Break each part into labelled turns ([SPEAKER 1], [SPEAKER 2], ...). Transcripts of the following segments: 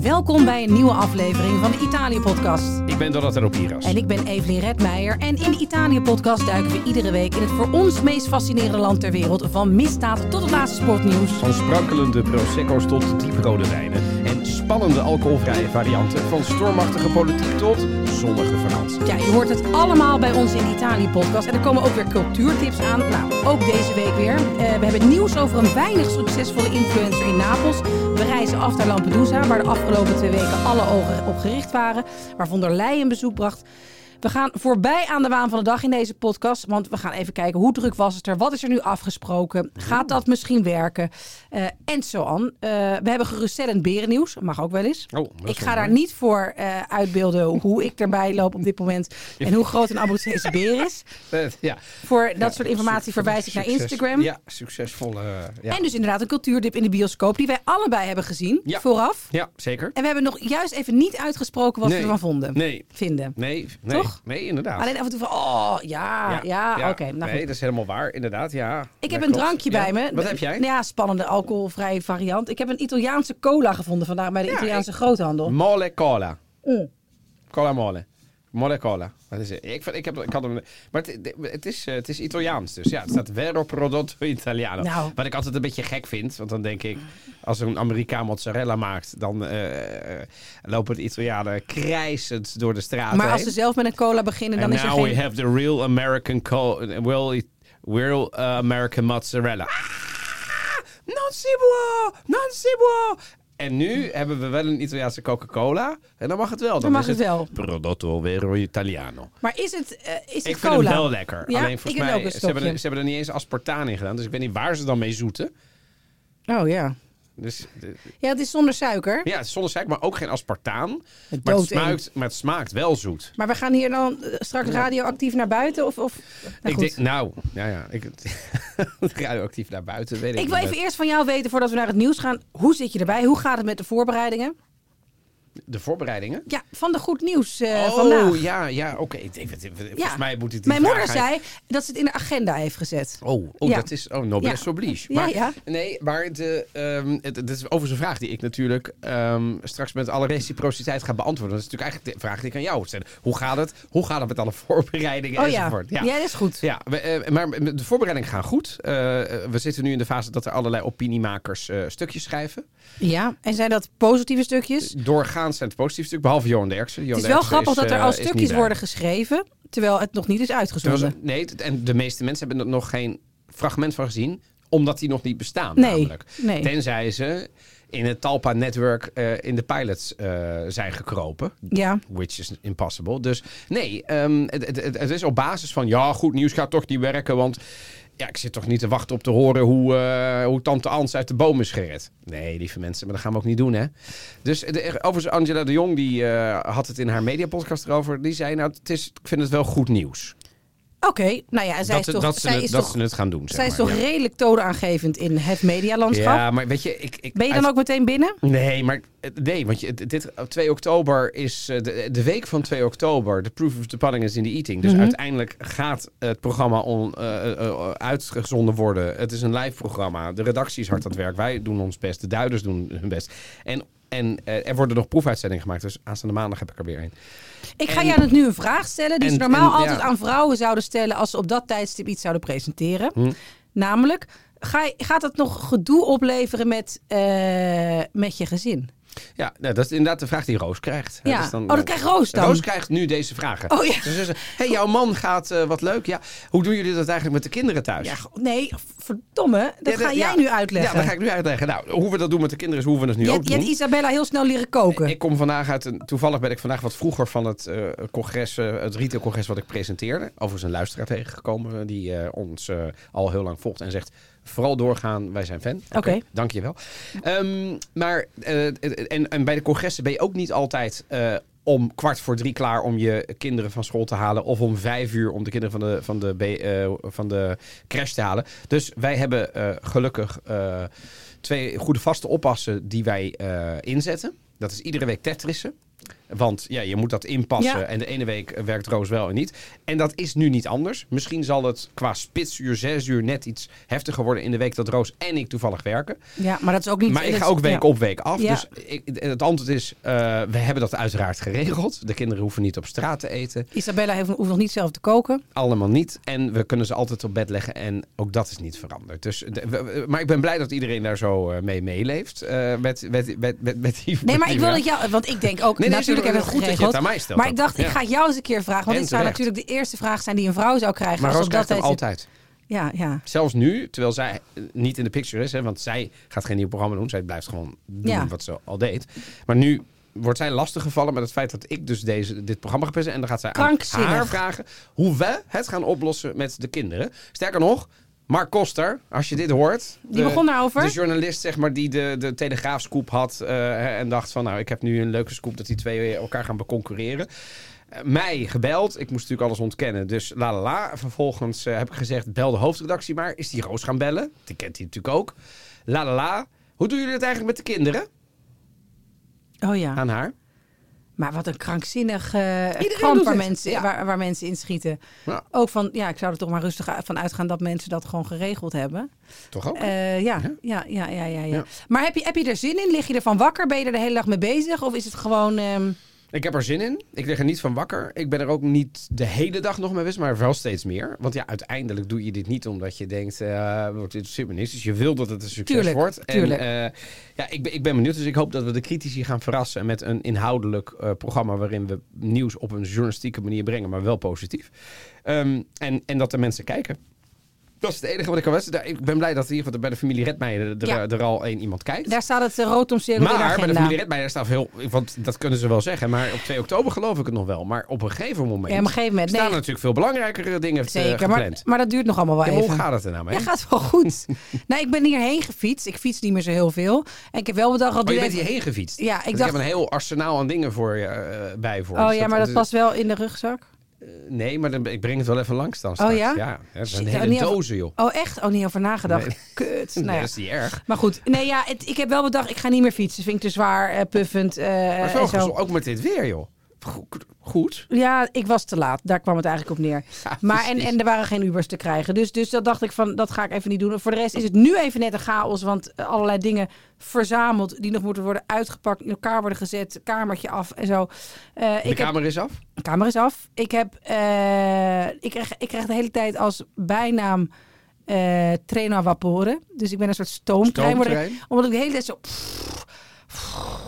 [SPEAKER 1] Welkom bij een nieuwe aflevering van de Italië Podcast.
[SPEAKER 2] Ik ben Donatello Ropiras.
[SPEAKER 1] En ik ben Evelien Redmeijer. En in de Italië Podcast duiken we iedere week in het voor ons meest fascinerende land ter wereld. Van misdaad tot het laatste sportnieuws.
[SPEAKER 2] Van sprankelende prosecco's tot dieprode wijnen. En spannende alcoholvrije varianten. Van stormachtige politiek tot zonnige vakantie.
[SPEAKER 1] Ja, je hoort het allemaal bij ons in de Italië Podcast. En er komen ook weer cultuurtips aan. Nou, ook deze week weer. Eh, we hebben nieuws over een weinig succesvolle influencer in Napels. We reizen af naar Lampedusa, waar de afgelopen twee weken alle ogen op gericht waren. Waar Von der Leyen bezoek bracht. We gaan voorbij aan de waan van de dag in deze podcast. Want we gaan even kijken hoe druk was het er? Wat is er nu afgesproken? Gaat dat misschien werken? Eh, en zo aan. Eh, we hebben geruststellend berennieuws. Mag ook wel eens.
[SPEAKER 2] Oh, dat is
[SPEAKER 1] ik ga
[SPEAKER 2] wel
[SPEAKER 1] daar
[SPEAKER 2] mooi.
[SPEAKER 1] niet voor eh, uitbeelden hoe ik erbij loop op dit moment. En hoe groot een Abruzzese beer is.
[SPEAKER 2] Eh, ja.
[SPEAKER 1] Voor dat soort informatie
[SPEAKER 2] Suc-
[SPEAKER 1] verwijs ik naar
[SPEAKER 2] succes-
[SPEAKER 1] Instagram.
[SPEAKER 2] Ja, succesvolle. eh, ja.
[SPEAKER 1] En dus inderdaad een cultuurdip in de bioscoop die wij allebei hebben gezien
[SPEAKER 2] Ja.
[SPEAKER 1] vooraf.
[SPEAKER 2] ja, zeker.
[SPEAKER 1] En we hebben nog juist even niet uitgesproken wat
[SPEAKER 2] Nee.
[SPEAKER 1] we ervan vonden.
[SPEAKER 2] Nee.
[SPEAKER 1] Vinden.
[SPEAKER 2] Nee, nee,
[SPEAKER 1] Toch?
[SPEAKER 2] nee, inderdaad.
[SPEAKER 1] Alleen af en toe van, oh ja, ja, oké. nou
[SPEAKER 2] nee,
[SPEAKER 1] goed.
[SPEAKER 2] dat is helemaal waar, inderdaad. Ja,
[SPEAKER 1] Ik
[SPEAKER 2] Ja,
[SPEAKER 1] heb een
[SPEAKER 2] klopt.
[SPEAKER 1] drankje
[SPEAKER 2] Ja.
[SPEAKER 1] bij me.
[SPEAKER 2] Wat heb jij?
[SPEAKER 1] Ja, spannende alcoholvrije variant. Ik heb een Italiaanse cola gevonden vandaag bij de
[SPEAKER 2] Ja,
[SPEAKER 1] Italiaanse groothandel.
[SPEAKER 2] Mole cola.
[SPEAKER 1] Mm.
[SPEAKER 2] Cola mole. Mole cola. Dat is het. Ik, vind- ik, heb, ik had hem. Maar het, het, is, eh, het is Italiaans, dus ja, het staat Vero Prodotto Italiano.
[SPEAKER 1] Nou.
[SPEAKER 2] Wat ik altijd een beetje gek vind, want dan denk ik, als een Amerikaan mozzarella maakt, dan eh, eh, lopen de Italianen krijsend door de straat.
[SPEAKER 1] Maar als ze zelf met een cola beginnen, dan
[SPEAKER 2] And
[SPEAKER 1] is er
[SPEAKER 2] now
[SPEAKER 1] geen...
[SPEAKER 2] we have the real American co real, it- real uh, American mozzarella. Ah, non si può, non si può. En nu hebben we wel een Italiaanse Coca-Cola. En dan mag het wel. Dan,
[SPEAKER 1] mag
[SPEAKER 2] is
[SPEAKER 1] het wel.
[SPEAKER 2] Prodotto vero Italiano.
[SPEAKER 1] Maar is het, eh, is het
[SPEAKER 2] Ik vind
[SPEAKER 1] cola?
[SPEAKER 2] hem wel lekker.
[SPEAKER 1] Ja,
[SPEAKER 2] Alleen volgens
[SPEAKER 1] ik
[SPEAKER 2] mij,
[SPEAKER 1] heb ook
[SPEAKER 2] ze
[SPEAKER 1] een
[SPEAKER 2] hebben, er-
[SPEAKER 1] stokje.
[SPEAKER 2] ze hebben er niet eens aspartaan in gedaan. Dus ik weet niet waar ze dan mee zoeten.
[SPEAKER 1] Oh ja.
[SPEAKER 2] Dus, eh,
[SPEAKER 1] Ja, het is zonder suiker.
[SPEAKER 2] ja, het is zonder zeik, maar ook geen aspartaan.
[SPEAKER 1] Het
[SPEAKER 2] Maar
[SPEAKER 1] doodeng.
[SPEAKER 2] het, smaakt, maar het smaakt wel zoet.
[SPEAKER 1] Maar we gaan hier dan eh, straks radioactief naar buiten? Of, of... Nou,
[SPEAKER 2] ik
[SPEAKER 1] goed.
[SPEAKER 2] denk, nou, ja, ja. Ik, radioactief naar buiten, weet ik
[SPEAKER 1] Ik
[SPEAKER 2] niet
[SPEAKER 1] wil
[SPEAKER 2] best.
[SPEAKER 1] even eerst van jou weten, voordat we naar het nieuws gaan. Hoe zit je erbij? Hoe gaat het met de voorbereidingen?
[SPEAKER 2] De voorbereidingen?
[SPEAKER 1] Ja, van de goed nieuws eh,
[SPEAKER 2] oh,
[SPEAKER 1] vandaag.
[SPEAKER 2] ja, ja, oké. Ik denk, dat- Volgens
[SPEAKER 1] Ja.
[SPEAKER 2] mij moet dit die
[SPEAKER 1] Mijn moeder
[SPEAKER 2] vraag uit-
[SPEAKER 1] zei dat ze het in de agenda heeft gezet.
[SPEAKER 2] Oh, oh
[SPEAKER 1] Ja.
[SPEAKER 2] dat is oh, noblesse
[SPEAKER 1] Ja.
[SPEAKER 2] oblige.
[SPEAKER 1] Ja,
[SPEAKER 2] Maar,
[SPEAKER 1] ja.
[SPEAKER 2] Nee, maar de, ehm, het, dit is overigens een vraag die ik natuurlijk ehm, straks met alle reciprociteit ga beantwoorden. Dat is natuurlijk eigenlijk de vraag die ik aan jou wil stellen. Hoe gaat het? Hoe gaat het met alle voorbereidingen
[SPEAKER 1] Oh ja.
[SPEAKER 2] enzovoort?
[SPEAKER 1] ja, dat is goed.
[SPEAKER 2] Ja, we, eh, maar de voorbereidingen gaan goed. Eh, eh, we zitten nu in de fase dat er allerlei opiniemakers eh, stukjes schrijven.
[SPEAKER 1] Ja, en zijn dat positieve stukjes?
[SPEAKER 2] Doorgaans zijn het positieve stuk, behalve Johan Derksen. Johan
[SPEAKER 1] Het is wel
[SPEAKER 2] Derksen
[SPEAKER 1] grappig dat
[SPEAKER 2] eh,
[SPEAKER 1] er al
[SPEAKER 2] is niet
[SPEAKER 1] stukjes
[SPEAKER 2] bij.
[SPEAKER 1] worden geschreven, terwijl het nog niet is
[SPEAKER 2] Er was-
[SPEAKER 1] uitgezonden.
[SPEAKER 2] nee, t- en de meeste mensen hebben er nog geen fragment van gezien, omdat die nog niet bestaan.
[SPEAKER 1] Nee,
[SPEAKER 2] namelijk.
[SPEAKER 1] nee.
[SPEAKER 2] Tenzij ze in het Talpa-netwerk eh, in de pilots eh, zijn gekropen.
[SPEAKER 1] Ja.
[SPEAKER 2] Which is impossible. Dus nee, ehm, het, het, het, het is op basis van ja, goed nieuws gaat toch niet werken. Want ja, ik zit toch niet te wachten op te horen hoe, eh, hoe tante Ans uit de boom is gered. Nee, lieve mensen, maar dat gaan we ook niet doen, hè. Dus eh, de, overigens, Angela de Jong, die eh, had het in haar mediapodcast erover. Die zei, nou, het is, ik vind het wel goed nieuws.
[SPEAKER 1] Oké, nou ja, en zij
[SPEAKER 2] dat
[SPEAKER 1] is
[SPEAKER 2] ze-
[SPEAKER 1] toch,
[SPEAKER 2] dat ze
[SPEAKER 1] zij
[SPEAKER 2] het-
[SPEAKER 1] is
[SPEAKER 2] dat
[SPEAKER 1] toch,
[SPEAKER 2] ze het gaan doen, zeg
[SPEAKER 1] zij is
[SPEAKER 2] maar,
[SPEAKER 1] toch
[SPEAKER 2] ja.
[SPEAKER 1] redelijk toonaangevend in het medialandschap.
[SPEAKER 2] Ja, maar weet je, ik... ik
[SPEAKER 1] Ben je dan
[SPEAKER 2] uit-
[SPEAKER 1] ook meteen binnen?
[SPEAKER 2] Nee, maar eh, nee, want je, dit- dit, 2 oktober is eh, de, de week van 2 oktober. De proof of the pudding is in the eating.
[SPEAKER 1] Mhm.
[SPEAKER 2] Dus uiteindelijk gaat het programma on, eh, eh, eh, uitgezonden worden. Het is een live programma. De redactie is hard aan het werk. Wij doen ons best. De duiders doen hun best. En, en eh, er worden nog proefuitzendingen gemaakt. Dus aanstaande maandag heb ik er weer een.
[SPEAKER 1] Ik ga
[SPEAKER 2] En-
[SPEAKER 1] jij nu een vraag stellen die ze
[SPEAKER 2] en-
[SPEAKER 1] normaal
[SPEAKER 2] en-
[SPEAKER 1] altijd
[SPEAKER 2] ja.
[SPEAKER 1] aan vrouwen zouden stellen als ze op dat tijdstip iets zouden presenteren.
[SPEAKER 2] Hm.
[SPEAKER 1] Namelijk, ga, je- gaat het nog gedoe opleveren met, eh, met je gezin?
[SPEAKER 2] Ja, nou, dat is inderdaad de vraag die Roos krijgt. dus
[SPEAKER 1] Ja. Oh, dat krijgt Roos dan?
[SPEAKER 2] eh, Roos krijgt nu deze vragen.
[SPEAKER 1] Oh, ja.
[SPEAKER 2] Dus ze zegt, hey, jouw man gaat eh, wat leuk. Ja, hoe doen jullie dat eigenlijk met de kinderen thuis?
[SPEAKER 1] Ja, go- nee, verdomme, dat
[SPEAKER 2] Ja,
[SPEAKER 1] ga jij
[SPEAKER 2] ja.
[SPEAKER 1] nu uitleggen.
[SPEAKER 2] Ja, dat ga ik nu uitleggen. Nou, hoe we dat doen met de kinderen is hoe we dat nu
[SPEAKER 1] je,
[SPEAKER 2] ook
[SPEAKER 1] hebt, je
[SPEAKER 2] doen.
[SPEAKER 1] hebt Isabella heel snel leren koken.
[SPEAKER 2] Ik kom vandaag uit een. Toevallig ben ik vandaag wat vroeger van het eh, congres, eh, het retailcongres wat ik presenteerde. Overigens een luisteraar tegengekomen eh, die eh, ons eh, al heel lang volgt en zegt. Vooral doorgaan, wij zijn fan.
[SPEAKER 1] Oké.
[SPEAKER 2] Dank je wel. Ehm, maar eh, en, en bij de congressen ben je ook niet altijd eh, om kwart voor drie klaar om je kinderen van school te halen. Of om vijf uur om de kinderen van de, van de, be- eh, van de crash te halen. Dus wij hebben eh, gelukkig eh, twee goede vaste oppassen die wij eh, inzetten. Dat is iedere week Tetrissen. Want ja, je moet dat inpassen.
[SPEAKER 1] Ja.
[SPEAKER 2] En de ene week eh, werkt Roos wel en niet. En dat is nu niet anders. Misschien zal het qua spitsuur, zes uur net iets heftiger worden in de week dat Roos en ik toevallig werken.
[SPEAKER 1] Ja, maar dat is ook niet...
[SPEAKER 2] Maar ik
[SPEAKER 1] dat
[SPEAKER 2] ga
[SPEAKER 1] is-
[SPEAKER 2] ook week
[SPEAKER 1] ja.
[SPEAKER 2] op week af.
[SPEAKER 1] Ja.
[SPEAKER 2] Dus ik, het antwoord is, eh, we hebben dat uiteraard geregeld. De kinderen hoeven niet op straat te eten.
[SPEAKER 1] Isabella heeft, hoeft nog niet zelf te koken.
[SPEAKER 2] Allemaal niet. En we kunnen ze altijd op bed leggen. En ook dat is niet veranderd. Dus, de- we- we- maar ik ben blij dat iedereen daar zo eh, mee meeleeft. eh, met, met, met, met, met die,
[SPEAKER 1] Nee,
[SPEAKER 2] met
[SPEAKER 1] maar
[SPEAKER 2] die
[SPEAKER 1] ik wil dat
[SPEAKER 2] werk.
[SPEAKER 1] jou... Want ik denk ook,
[SPEAKER 2] Nee, nee,
[SPEAKER 1] natuurlijk hebben we
[SPEAKER 2] goed
[SPEAKER 1] het
[SPEAKER 2] dat je
[SPEAKER 1] geregeld.
[SPEAKER 2] het aan mij stelt
[SPEAKER 1] maar
[SPEAKER 2] dan.
[SPEAKER 1] ik dacht, ik
[SPEAKER 2] Ja.
[SPEAKER 1] ga jou eens een keer vragen. Want
[SPEAKER 2] En
[SPEAKER 1] dit zou
[SPEAKER 2] terecht.
[SPEAKER 1] natuurlijk de eerste vraag zijn die een vrouw zou krijgen.
[SPEAKER 2] Maar
[SPEAKER 1] als
[SPEAKER 2] Roos
[SPEAKER 1] op
[SPEAKER 2] krijgt
[SPEAKER 1] dat
[SPEAKER 2] hem
[SPEAKER 1] deze-
[SPEAKER 2] altijd.
[SPEAKER 1] Ja, ja.
[SPEAKER 2] Zelfs nu, terwijl zij eh, niet in de picture is. Hè, want zij gaat geen nieuw programma doen. Zij blijft gewoon doen
[SPEAKER 1] Ja.
[SPEAKER 2] wat ze al deed. Maar nu wordt zij lastiggevallen met het feit dat ik dus deze, dit programma gepresenteerd En dan gaat zij aan
[SPEAKER 1] Krankzinnig.
[SPEAKER 2] haar vragen hoe we het gaan oplossen met de kinderen. Sterker nog... Mark Koster, als je dit hoort.
[SPEAKER 1] Die begon daarover.
[SPEAKER 2] De journalist, zeg maar, die de, de Telegraaf-scoop had. eh, en dacht van, nou, ik heb nu een leuke scoop dat die twee elkaar gaan beconcurreren Eh, mij gebeld. Ik moest natuurlijk alles ontkennen. Dus la la la. Vervolgens eh, heb ik gezegd: bel de hoofdredactie maar. Is die Roos gaan bellen? Die kent hij natuurlijk ook. La la la. Hoe doen jullie het eigenlijk met de kinderen?
[SPEAKER 1] Ah. Oh ja.
[SPEAKER 2] Aan haar.
[SPEAKER 1] Maar wat een krankzinnig eh
[SPEAKER 2] doet
[SPEAKER 1] kamp waar
[SPEAKER 2] het.
[SPEAKER 1] mensen,
[SPEAKER 2] Ja.
[SPEAKER 1] waar, waar mensen in schieten.
[SPEAKER 2] Ja.
[SPEAKER 1] Ook van, ja, ik zou er toch maar rustig a- van uitgaan dat mensen dat gewoon geregeld hebben.
[SPEAKER 2] Toch ook?
[SPEAKER 1] Eh, ja, ja, ja, ja, ja, ja.
[SPEAKER 2] Ja.
[SPEAKER 1] Maar heb je, heb je er zin in? Lig je ervan wakker? Ben je er de hele dag mee bezig? Of is het gewoon... ehm,
[SPEAKER 2] Ik heb er zin in. Ik lig er niet van wakker. Ik ben er ook niet de hele dag nog mee bezig, maar wel steeds meer. Want ja, uiteindelijk doe je dit niet omdat je denkt, eh wordt dit zit me niks. Dus je wil dat het een succes
[SPEAKER 1] Tuurlijk,
[SPEAKER 2] wordt.
[SPEAKER 1] tuurlijk.
[SPEAKER 2] En, eh, ja, ik ben, ik ben benieuwd. Dus ik hoop dat we de critici gaan verrassen met een inhoudelijk eh, programma waarin we nieuws op een journalistieke manier brengen, maar wel positief. Ehm, en, en dat de mensen kijken. Dat is het enige wat ik kan wensen. Ik ben blij dat in ieder geval bij de familie Redmeijer er,
[SPEAKER 1] Ja.
[SPEAKER 2] er, er al één iemand kijkt.
[SPEAKER 1] daar staat het eh, rood omcirkeld in de
[SPEAKER 2] Maar bij de
[SPEAKER 1] agenda.
[SPEAKER 2] familie Redmeijer staat veel... Want dat kunnen ze wel zeggen. Maar op 2 oktober geloof ik het nog wel. Maar op een gegeven moment...
[SPEAKER 1] Ja, op een gegeven moment,
[SPEAKER 2] staan
[SPEAKER 1] nee.
[SPEAKER 2] er natuurlijk veel belangrijkere dingen eh,
[SPEAKER 1] Zeker, maar,
[SPEAKER 2] gepland.
[SPEAKER 1] maar dat duurt nog allemaal wel
[SPEAKER 2] En
[SPEAKER 1] even.
[SPEAKER 2] hoe gaat het er nou mee?
[SPEAKER 1] Ja, gaat wel goed. nou, ik ben hierheen gefietst. Ik fiets niet meer zo heel veel. En ik heb wel bedacht... dat
[SPEAKER 2] Oh, je
[SPEAKER 1] duurt
[SPEAKER 2] bent
[SPEAKER 1] even-
[SPEAKER 2] hierheen gefietst.
[SPEAKER 1] Ja, ik
[SPEAKER 2] Want
[SPEAKER 1] dacht-
[SPEAKER 2] heb een heel arsenaal aan dingen voor je eh, bij voor.
[SPEAKER 1] Oh
[SPEAKER 2] Dus
[SPEAKER 1] ja, maar dat
[SPEAKER 2] dus- eh,
[SPEAKER 1] past wel in de rugzak.
[SPEAKER 2] Nee, maar dan, ik breng het wel even langs dan straks.
[SPEAKER 1] Oh, ja?
[SPEAKER 2] Ja, dat zijn
[SPEAKER 1] Shit, daar
[SPEAKER 2] hele
[SPEAKER 1] niet over-
[SPEAKER 2] dozen, joh.
[SPEAKER 1] Oh, echt? Oh, niet over nagedacht.
[SPEAKER 2] Nee.
[SPEAKER 1] Kut. Nou
[SPEAKER 2] Nee,
[SPEAKER 1] ja.
[SPEAKER 2] dat is niet erg.
[SPEAKER 1] Maar goed, nee, ja, het- ik heb wel bedacht, ik ga niet meer fietsen. Vind ik te zwaar, eh, puffend. eh,
[SPEAKER 2] Maar het is wel
[SPEAKER 1] en zo.
[SPEAKER 2] gezond, ook met dit weer, joh. Go- Goed.
[SPEAKER 1] Ja, ik was te laat. Daar kwam het eigenlijk op neer.
[SPEAKER 2] Ja,
[SPEAKER 1] maar en,
[SPEAKER 2] precies.
[SPEAKER 1] en er waren geen Ubers te krijgen. Dus, dus dat dacht ik van, dat ga ik even niet doen. En Voor de rest is het nu even net een chaos. Want eh, allerlei dingen verzameld die nog moeten worden uitgepakt. In elkaar worden gezet, kamertje af en zo. Eh,
[SPEAKER 2] De
[SPEAKER 1] ik heb-
[SPEAKER 2] kamer is af.
[SPEAKER 1] de kamer is af. Ik heb, eh, ik, krijg, ik krijg de hele tijd als bijnaam eh trainer vapore. Dus ik ben een soort stoomtrein.
[SPEAKER 2] Stoomtrein.
[SPEAKER 1] word ik- Omdat ik de hele tijd zo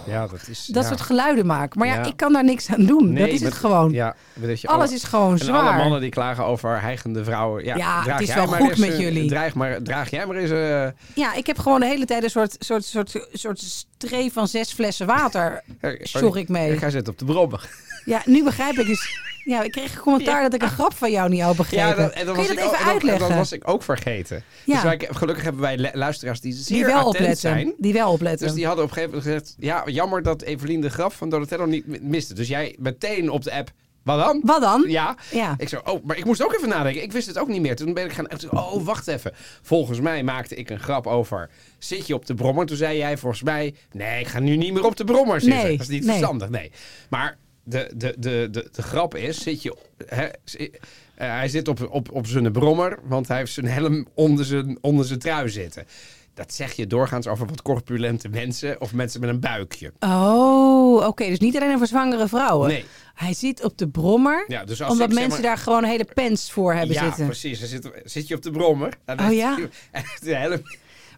[SPEAKER 2] Ja, dat is...
[SPEAKER 1] dat
[SPEAKER 2] ja.
[SPEAKER 1] soort geluiden maak. Maar ja,
[SPEAKER 2] Ja.
[SPEAKER 1] ik kan daar niks aan doen.
[SPEAKER 2] Nee,
[SPEAKER 1] dat is
[SPEAKER 2] maar-
[SPEAKER 1] het gewoon.
[SPEAKER 2] Ja, dat je
[SPEAKER 1] Alles
[SPEAKER 2] alle-
[SPEAKER 1] is gewoon
[SPEAKER 2] En
[SPEAKER 1] zwaar.
[SPEAKER 2] alle mannen die klagen over hijgende vrouwen. Ja,
[SPEAKER 1] Ja,
[SPEAKER 2] draag
[SPEAKER 1] het is
[SPEAKER 2] jij
[SPEAKER 1] wel
[SPEAKER 2] maar
[SPEAKER 1] goed
[SPEAKER 2] eens,
[SPEAKER 1] met
[SPEAKER 2] eh,
[SPEAKER 1] jullie.
[SPEAKER 2] Draag, maar, draag jij maar eens... eh,
[SPEAKER 1] Ja, ik heb gewoon de hele tijd een soort, soort, soort, soort stree van zes flessen water.
[SPEAKER 2] eh,
[SPEAKER 1] Zorg ik mee.
[SPEAKER 2] Ik ga zitten op de brommen.
[SPEAKER 1] Ja, nu begrijp ik dus. Ja, ik kreeg een commentaar dat ik een grap van jou niet had begrepen. Kun je dat
[SPEAKER 2] ook,
[SPEAKER 1] even
[SPEAKER 2] en dat- en
[SPEAKER 1] uitleggen?
[SPEAKER 2] dat was ik ook vergeten.
[SPEAKER 1] Ja.
[SPEAKER 2] Dus wij, gelukkig hebben wij le- luisteraars die zeer
[SPEAKER 1] die wel
[SPEAKER 2] attent
[SPEAKER 1] opletten.
[SPEAKER 2] zijn.
[SPEAKER 1] Die wel opletten.
[SPEAKER 2] Dus die hadden op een gegeven moment gezegd... Ja, jammer dat Evelien de graf van Donatello niet mi- miste. Dus jij meteen op de app... Wat dan?
[SPEAKER 1] Wat dan?
[SPEAKER 2] Ja.
[SPEAKER 1] Ja.
[SPEAKER 2] Ik zo, oh, maar ik moest ook even nadenken. Ik wist het ook niet meer. Toen ben ik gaan. toen- Oh, wacht even. Volgens mij maakte ik een grap over. Zit je op de brommer? Toen zei jij volgens mij. Nee, ik ga nu niet meer op de brommer zitten.
[SPEAKER 1] Nee,
[SPEAKER 2] dat is niet
[SPEAKER 1] nee.
[SPEAKER 2] verstandig. Nee. Maar de, de, de, de, de grap is: zit je. Hè, zi- eh, hij zit op, op, op zijn brommer, want hij heeft zijn helm onder zijn, onder zijn trui zitten. Dat zeg je doorgaans over wat corpulente mensen of mensen met een buikje.
[SPEAKER 1] Oh, oké. Dus niet alleen voor zwangere vrouwen.
[SPEAKER 2] Nee.
[SPEAKER 1] Hij zit op de brommer.
[SPEAKER 2] Ja, dus als
[SPEAKER 1] omdat
[SPEAKER 2] ik, zeg
[SPEAKER 1] mensen
[SPEAKER 2] maar-
[SPEAKER 1] daar gewoon een hele pens voor hebben
[SPEAKER 2] ja,
[SPEAKER 1] zitten.
[SPEAKER 2] precies. Dan zit, zit je op de brommer. En dan-
[SPEAKER 1] Oh ja?
[SPEAKER 2] En de helm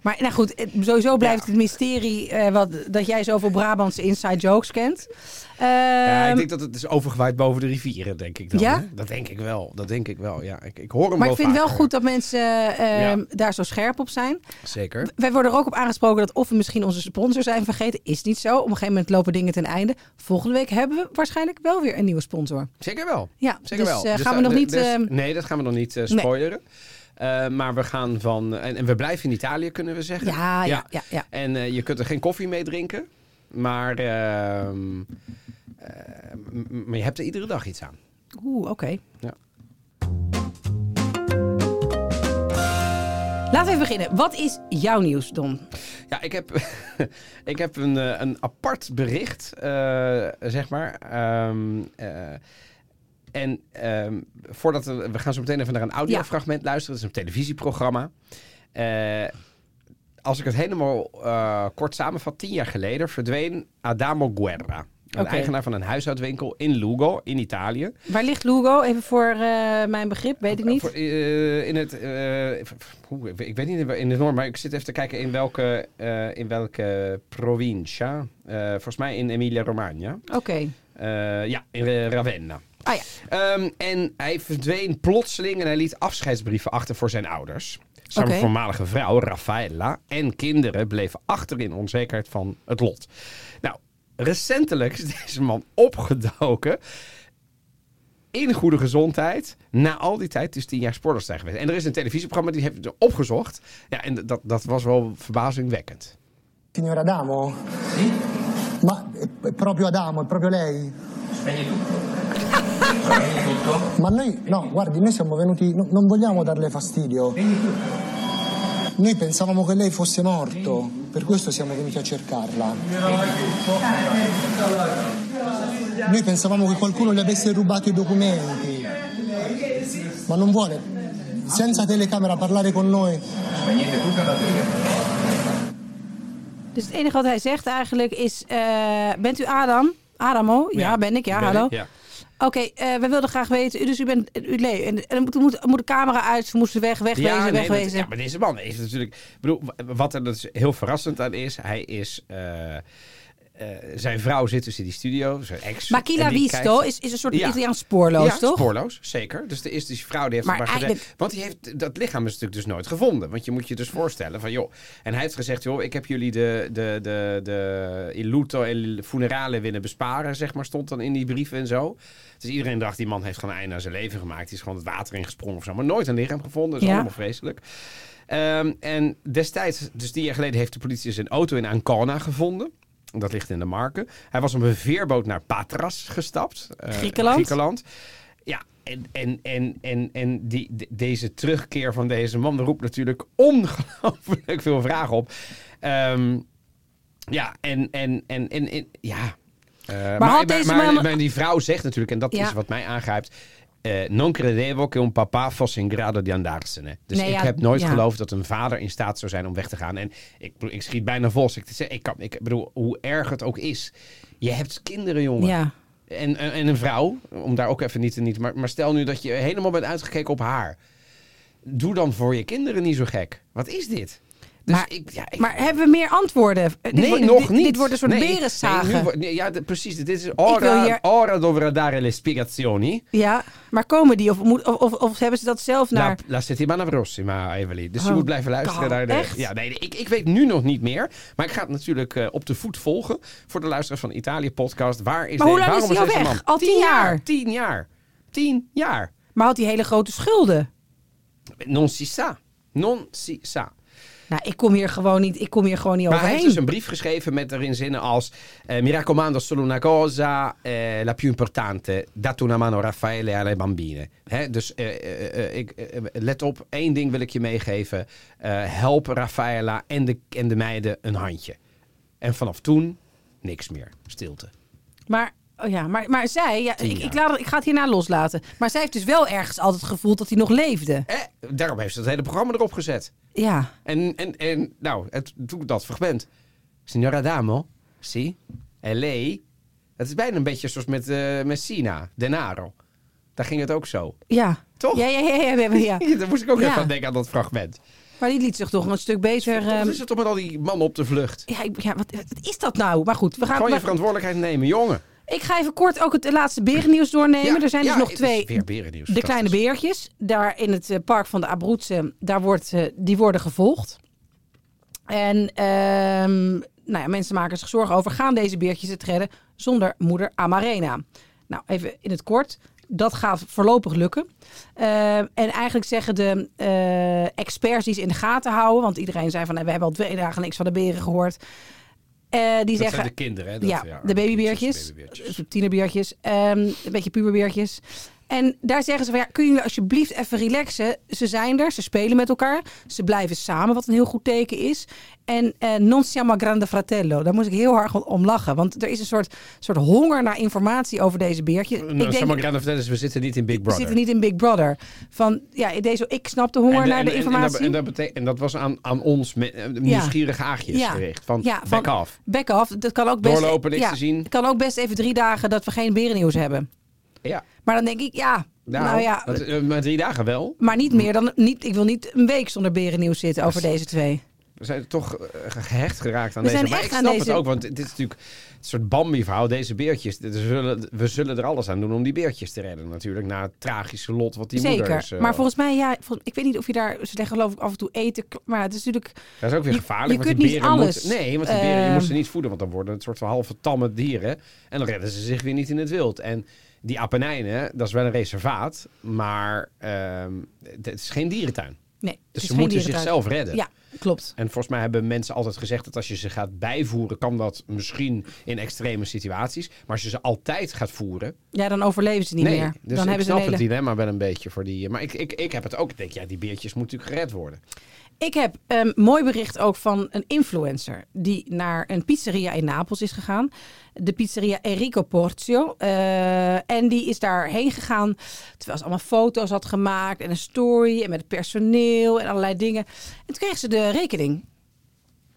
[SPEAKER 1] Maar nou goed, het- sowieso blijft
[SPEAKER 2] Ja.
[SPEAKER 1] het mysterie eh, wat, dat jij zoveel Brabantse inside jokes kent.
[SPEAKER 2] Ja, ik
[SPEAKER 1] Ehm,
[SPEAKER 2] denk dat het is overgewaaid boven de rivieren, denk ik dan.
[SPEAKER 1] Ja?
[SPEAKER 2] hè? Dat denk ik wel. Dat denk ik wel. Ja, ik, ik hoor hem
[SPEAKER 1] maar
[SPEAKER 2] wel
[SPEAKER 1] ik vind het wel
[SPEAKER 2] vaker.
[SPEAKER 1] goed dat mensen eh,
[SPEAKER 2] Ja.
[SPEAKER 1] daar zo scherp op zijn.
[SPEAKER 2] Zeker.
[SPEAKER 1] Wij worden er ook op aangesproken dat of we misschien onze sponsor zijn vergeten. Is niet zo. Op een gegeven moment lopen dingen ten einde. Volgende week hebben we waarschijnlijk wel weer een nieuwe sponsor.
[SPEAKER 2] Zeker wel.
[SPEAKER 1] Ja,
[SPEAKER 2] Zeker
[SPEAKER 1] dus
[SPEAKER 2] wel.
[SPEAKER 1] eh,
[SPEAKER 2] Dus
[SPEAKER 1] gaan we
[SPEAKER 2] da-
[SPEAKER 1] nog
[SPEAKER 2] da-
[SPEAKER 1] niet...
[SPEAKER 2] dus-
[SPEAKER 1] ehm,
[SPEAKER 2] nee, dat gaan we nog niet eh, spoileren. Eh, maar we gaan van... En, en we blijven in Italië, kunnen we zeggen.
[SPEAKER 1] ja, ja, ja, ja.
[SPEAKER 2] En eh, je kunt er geen koffie mee drinken. Maar, ehm, eh, m- maar je hebt er iedere dag iets aan.
[SPEAKER 1] Oeh, oké.
[SPEAKER 2] Ja.
[SPEAKER 1] Laten we even beginnen. Wat is jouw nieuws, Don?
[SPEAKER 2] Ja, ik heb, ik heb een, eh, een apart bericht, eh, zeg maar. Ehm, eh, en ehm, voordat we, we gaan zo meteen even naar een audiofragment luisteren. Het is een televisieprogramma. Eh, als ik het helemaal eh, kort samenvat, tien jaar geleden verdween Adamo Guerra. Een
[SPEAKER 1] Oké.
[SPEAKER 2] eigenaar van een huishoudwinkel in Lugo, in Italië.
[SPEAKER 1] Waar ligt Lugo? Even voor eh, mijn begrip, weet ik niet.
[SPEAKER 2] Voor, eh, in het, eh, f- f- hoe, ik weet- ik weet niet in wa- in de norm, maar ik zit even te kijken in welke, eh, in welke provincia. Eh, volgens mij in Emilia-Romagna.
[SPEAKER 1] Oké.
[SPEAKER 2] Eh, ja, in eh, Ravenna.
[SPEAKER 1] Ah ja.
[SPEAKER 2] Ehm, en hij verdween plotseling en hij liet afscheidsbrieven achter voor zijn ouders. Zijn
[SPEAKER 1] Oké.
[SPEAKER 2] voormalige vrouw, Rafaella, en kinderen bleven achter in onzekerheid van het lot. Nou, recentelijk is deze man opgedoken. In goede gezondheid. Na al die tijd dus tien jaar sporters zijn geweest. En er is een televisieprogramma die heeft het opgezocht. Ja, en dat, dat was wel verbazingwekkend.
[SPEAKER 3] Signor Adamo? Ma eh, è- è proprio Adamo, è proprio lei?
[SPEAKER 4] Spegni tutto. Spegni tutto.
[SPEAKER 3] Ma noi, no, guardi, noi siamo venuti, no- non vogliamo darle fastidio. Noi pensavamo che lei fosse morto, per questo siamo venuti a cercarla. Noi pensavamo che qualcuno le avesse rubato i documenti, ma non vuole, senza telecamera, parlare con noi.
[SPEAKER 4] Spegnete tutto e andate via.
[SPEAKER 1] Dus het enige wat hij zegt eigenlijk is... eh, bent u Adam? Adamo? Ja, ben ik. Ja,
[SPEAKER 2] Ben ik,
[SPEAKER 1] hallo.
[SPEAKER 2] ja.
[SPEAKER 1] Oké, eh, we wilden graag weten. Dus u bent... U leeft. En, en moet, moet, moet de camera uit. Ze moesten weg, wegwezen,
[SPEAKER 2] nee, dat-
[SPEAKER 1] wegwezen.
[SPEAKER 2] ja, maar deze man is natuurlijk. Ik bedoel, w- wat er dus heel verrassend aan is, hij is. eh, eh, zijn vrouw zit dus in die studio, zijn ex.
[SPEAKER 1] Makila
[SPEAKER 2] en die
[SPEAKER 1] Visto
[SPEAKER 2] kijkt-
[SPEAKER 1] is, is een soort
[SPEAKER 2] Ja.
[SPEAKER 1] Italiaans spoorloos,
[SPEAKER 2] ja,
[SPEAKER 1] toch?
[SPEAKER 2] spoorloos, zeker. Dus er is die vrouw die heeft
[SPEAKER 1] Maar
[SPEAKER 2] maar, maar
[SPEAKER 1] eigenlijk-
[SPEAKER 2] gezegd- Want die heeft dat lichaam is natuurlijk dus nooit gevonden. Want je moet je dus voorstellen van joh. En hij heeft gezegd joh, ik heb jullie de, de, de, de il lutto en il funerale willen besparen, zeg maar, stond dan in die brief en zo. Dus iedereen dacht die man heeft gewoon een einde aan zijn leven gemaakt. Die is gewoon het water ingesprongen of zo, maar nooit een lichaam gevonden. Dat is
[SPEAKER 1] Ja.
[SPEAKER 2] allemaal vreselijk. Ehm, en destijds, dus tien jaar geleden, heeft de politie zijn auto in Ancona gevonden. Dat ligt in de Marken. Hij was op een veerboot naar Patras gestapt. eh,
[SPEAKER 1] Griekenland.
[SPEAKER 2] Griekenland. Ja, en, en, en, en, en die, de- deze terugkeer van deze man roept natuurlijk ongelooflijk veel vragen op. Ehm, ja, en, en, en, en, en- ja. Eh, maar,
[SPEAKER 1] had deze
[SPEAKER 2] maar-
[SPEAKER 1] man-
[SPEAKER 2] maar die vrouw zegt natuurlijk, en dat
[SPEAKER 1] Ja.
[SPEAKER 2] is wat mij aangrijpt. eh, non credevo che un papà fosse in grado di andarsene. Dus
[SPEAKER 1] Nee,
[SPEAKER 2] ik
[SPEAKER 1] ja,
[SPEAKER 2] heb nooit
[SPEAKER 1] ja.
[SPEAKER 2] geloofd dat een vader in staat zou zijn om weg te gaan. En ik, bedoel, ik schiet bijna vol. als Ik, te zeggen. ik, kan, ik bedoel, hoe erg het ook is. Je hebt kinderen, jongen.
[SPEAKER 1] Ja.
[SPEAKER 2] En, en, en een vrouw, om daar ook even niet te niet. Maar, maar stel nu dat je helemaal bent uitgekeken op haar. Doe dan voor je kinderen niet zo gek. Wat is dit? Dus
[SPEAKER 1] maar,
[SPEAKER 2] ik- ja, ik-
[SPEAKER 1] maar hebben we meer antwoorden? Eh, dit
[SPEAKER 2] Nee,
[SPEAKER 1] wordt-
[SPEAKER 2] nog
[SPEAKER 1] dit,
[SPEAKER 2] niet.
[SPEAKER 1] Dit wordt een soort
[SPEAKER 2] Nee,
[SPEAKER 1] berenzagen.
[SPEAKER 2] nee, nu wordt- nee, ja, de- precies. Dit is
[SPEAKER 1] wil
[SPEAKER 2] ora,
[SPEAKER 1] hier-
[SPEAKER 2] ora dovrà dare le spiegazioni.
[SPEAKER 1] Ja, maar komen die? Of, moet, of, of, of hebben ze dat zelf naar...
[SPEAKER 2] La, la settimana prossima, Evelien. Dus je
[SPEAKER 1] Oh,
[SPEAKER 2] moet blijven luisteren
[SPEAKER 1] God,
[SPEAKER 2] naar de...
[SPEAKER 1] echt?
[SPEAKER 2] Ja, nee, nee, ik, ik weet nu nog niet meer. Maar ik ga het natuurlijk eh, op de voet volgen. Voor de luisteraars van de Italië-podcast. Waar is
[SPEAKER 1] Maar hoe
[SPEAKER 2] de-
[SPEAKER 1] lang is
[SPEAKER 2] waarom
[SPEAKER 1] die al
[SPEAKER 2] deze
[SPEAKER 1] weg?
[SPEAKER 2] man-
[SPEAKER 1] Al tien jaar?
[SPEAKER 2] Tien jaar. Tien jaar.
[SPEAKER 1] Maar had die hele grote schulden?
[SPEAKER 2] Non si sa. Non si sa.
[SPEAKER 1] Nou, ik kom hier gewoon niet, ik kom hier gewoon niet
[SPEAKER 2] Maar hij
[SPEAKER 1] overheen.
[SPEAKER 2] heeft dus een brief geschreven met erin zinnen als... eh, Mi raccomando solo una cosa, eh, la più importante. Date una mano a Raffaele e alle bambine. Hè, dus eh, eh, eh, ik, eh, let op, één ding wil ik je meegeven. Eh, help Raffaella en de, en de meiden een handje. En vanaf toen niks meer. Stilte.
[SPEAKER 1] Maar, oh ja, maar, maar zij, ja,
[SPEAKER 2] Tien
[SPEAKER 1] ik,
[SPEAKER 2] jaar.
[SPEAKER 1] ik, laat, het- ik ga het hierna loslaten. Maar zij heeft dus wel ergens altijd gevoeld dat hij nog leefde.
[SPEAKER 2] Eh, daarom heeft ze het hele programma erop gezet.
[SPEAKER 1] Ja.
[SPEAKER 2] En, en, en nou, het, toen dat fragment. Signora Damo, si, e lei. Het is bijna een beetje zoals met eh, Messina, Denaro. Daar ging het ook zo.
[SPEAKER 1] Ja.
[SPEAKER 2] Toch?
[SPEAKER 1] Ja, ja, ja. ja, ja, ja.
[SPEAKER 2] Daar moest ik ook
[SPEAKER 1] Ja.
[SPEAKER 2] even aan denken aan dat fragment.
[SPEAKER 1] Maar die liet zich toch een stuk beter...
[SPEAKER 2] Wat
[SPEAKER 1] ehm,
[SPEAKER 2] is het toch dus- met al die mannen op de vlucht?
[SPEAKER 1] ja, ik- ja wat, wat is dat nou? Maar goed, we gaan...
[SPEAKER 2] Gewoon je
[SPEAKER 1] we-
[SPEAKER 2] verantwoordelijkheid nemen, jongen.
[SPEAKER 1] Ik ga even kort ook het laatste berennieuws doornemen.
[SPEAKER 2] Ja,
[SPEAKER 1] er zijn
[SPEAKER 2] ja,
[SPEAKER 1] dus nog
[SPEAKER 2] het
[SPEAKER 1] twee.
[SPEAKER 2] is weer berennieuws.
[SPEAKER 1] De kleine
[SPEAKER 2] Fantastisch.
[SPEAKER 1] beertjes. Daar in het eh, park van de Abruzzen. Daar wordt, eh, die worden gevolgd. En ehm, nou ja, mensen maken zich zorgen over. Gaan deze beertjes het redden zonder moeder Amarena? Nou, even in het kort. Dat gaat voorlopig lukken. Eh, en eigenlijk zeggen de eh, experts die ze in de gaten houden. Want iedereen zei van eh, we hebben al twee dagen niks van de beren gehoord. Eh, die
[SPEAKER 2] Dat
[SPEAKER 1] zeggen,
[SPEAKER 2] zijn de kinderen, hè? Dat-
[SPEAKER 1] ja,
[SPEAKER 2] ja,
[SPEAKER 1] de babybeertjes,
[SPEAKER 2] babybeertjes.
[SPEAKER 1] tienerbeertjes, ehm, een beetje puberbeertjes. En daar zeggen ze van ja, kun je alsjeblieft even relaxen. Ze zijn er, ze spelen met elkaar. Ze blijven samen, wat een heel goed teken is. En eh, non siamo grande fratello. Daar moest ik heel hard om lachen. Want er is een soort, soort honger naar informatie over deze beertje. ik
[SPEAKER 2] Nou, zeg maar, ik kan het vertellen, dus we zitten niet in Big
[SPEAKER 1] we
[SPEAKER 2] Brother.
[SPEAKER 1] zitten niet in Big Brother. Van ja, deze, ik snap de honger naar de informatie.
[SPEAKER 2] En, dat, bete- en dat was aan, aan ons me- eh, nieuwsgierige aagjes gericht. Van,
[SPEAKER 1] Ja,
[SPEAKER 2] back af.
[SPEAKER 1] Back off. Dat kan ook best,
[SPEAKER 2] Doorlopen, niks te zien.
[SPEAKER 1] het kan ook best even drie dagen dat we geen berennieuws hebben.
[SPEAKER 2] Ja.
[SPEAKER 1] Maar dan denk ik, ja, nou,
[SPEAKER 2] Nou,
[SPEAKER 1] ja.
[SPEAKER 2] dat- eh, maar drie dagen wel.
[SPEAKER 1] Maar niet meer dan, niet, ik wil niet een week zonder berennieuws zitten over deze twee.
[SPEAKER 2] We zijn toch eh, gehecht geraakt aan
[SPEAKER 1] We
[SPEAKER 2] deze.
[SPEAKER 1] zijn
[SPEAKER 2] maar
[SPEAKER 1] echt
[SPEAKER 2] ik
[SPEAKER 1] aan
[SPEAKER 2] snap
[SPEAKER 1] deze-
[SPEAKER 2] het ook, want dit is natuurlijk een soort Bambi-verhaal. Deze beertjes, dit- we zullen, we zullen er alles aan doen om die beertjes te redden natuurlijk. Na het tragische lot wat die
[SPEAKER 1] Zeker.
[SPEAKER 2] moeders... eh,
[SPEAKER 1] maar volgens mij, ja, vol- ik weet niet of je daar, ze leggen geloof ik af en toe eten. k- Maar het is natuurlijk,
[SPEAKER 2] Dat is ook weer
[SPEAKER 1] je-
[SPEAKER 2] gevaarlijk.
[SPEAKER 1] je
[SPEAKER 2] want
[SPEAKER 1] kunt
[SPEAKER 2] die
[SPEAKER 1] niet
[SPEAKER 2] beren
[SPEAKER 1] alles,
[SPEAKER 2] moeten- nee, want die beren, je
[SPEAKER 1] eh,
[SPEAKER 2] moet ze niet voeden, want dan worden het soort van halve tamme dieren. En dan redden ze zich weer niet in het wild. En die Appenijnen, dat is wel een reservaat, maar ehm, het is geen dierentuin.
[SPEAKER 1] nee. het
[SPEAKER 2] Dus
[SPEAKER 1] is
[SPEAKER 2] ze
[SPEAKER 1] geen
[SPEAKER 2] moeten
[SPEAKER 1] dierentuin.
[SPEAKER 2] zichzelf redden.
[SPEAKER 1] Ja, klopt.
[SPEAKER 2] En volgens mij hebben mensen altijd gezegd dat als je ze gaat bijvoeren, kan dat misschien in extreme situaties. Maar als je ze altijd gaat voeren,
[SPEAKER 1] Ja, dan overleven ze niet
[SPEAKER 2] nee.
[SPEAKER 1] meer.
[SPEAKER 2] Dus
[SPEAKER 1] dan
[SPEAKER 2] ik
[SPEAKER 1] hebben ze
[SPEAKER 2] snap
[SPEAKER 1] een hele...
[SPEAKER 2] het dilemma wel een beetje voor die. Maar ik, ik, ik heb het ook. Ik denk, ja, die beertjes moeten natuurlijk gered worden.
[SPEAKER 1] Ik heb een mooi bericht ook van een influencer die naar een pizzeria in Napels is gegaan. De pizzeria Enrico Porzio. Eh, en die is daarheen gegaan terwijl ze allemaal foto's had gemaakt en een story en met het personeel en allerlei dingen. En toen kreeg ze de rekening.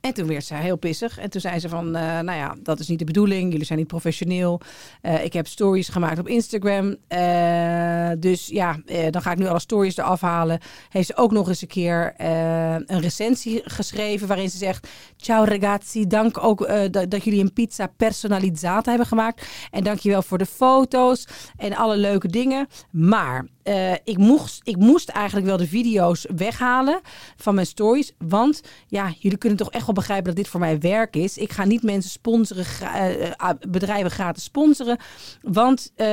[SPEAKER 1] En toen werd ze heel pissig. En toen zei ze van, eh, nou ja, dat is niet de bedoeling. Jullie zijn niet professioneel. Eh, ik heb stories gemaakt op Instagram. Eh, dus ja, eh, dan ga ik nu alle stories eraf halen. Heeft ze ook nog eens een keer eh, een recensie geschreven waarin ze zegt... Ciao ragazzi, dank ook eh, dat, dat jullie een pizza personalizzata hebben gemaakt. En dankjewel voor de foto's en alle leuke dingen. Maar eh, ik, moest, ik moest eigenlijk wel de video's weghalen van mijn stories. Want ja, jullie kunnen toch echt wel begrijpen dat dit voor mij werk is. Ik ga niet mensen sponsoren, gra- eh, eh, bedrijven gratis sponsoren. Want eh,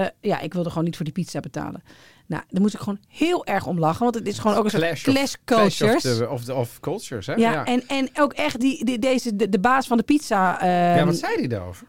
[SPEAKER 1] ja, ik wilde gewoon niet voor die pizza betalen. Nou, daar moest ik gewoon heel erg om lachen. Want het is gewoon ook een
[SPEAKER 2] Clash,
[SPEAKER 1] soort
[SPEAKER 2] of,
[SPEAKER 1] clash
[SPEAKER 2] clash of,
[SPEAKER 1] cultures.
[SPEAKER 2] the- of, the- of cultures, hè?
[SPEAKER 1] ja, En, en ook echt die, die- deze, de, de baas van de pizza. eh,
[SPEAKER 2] ja, wat zei hij daarover?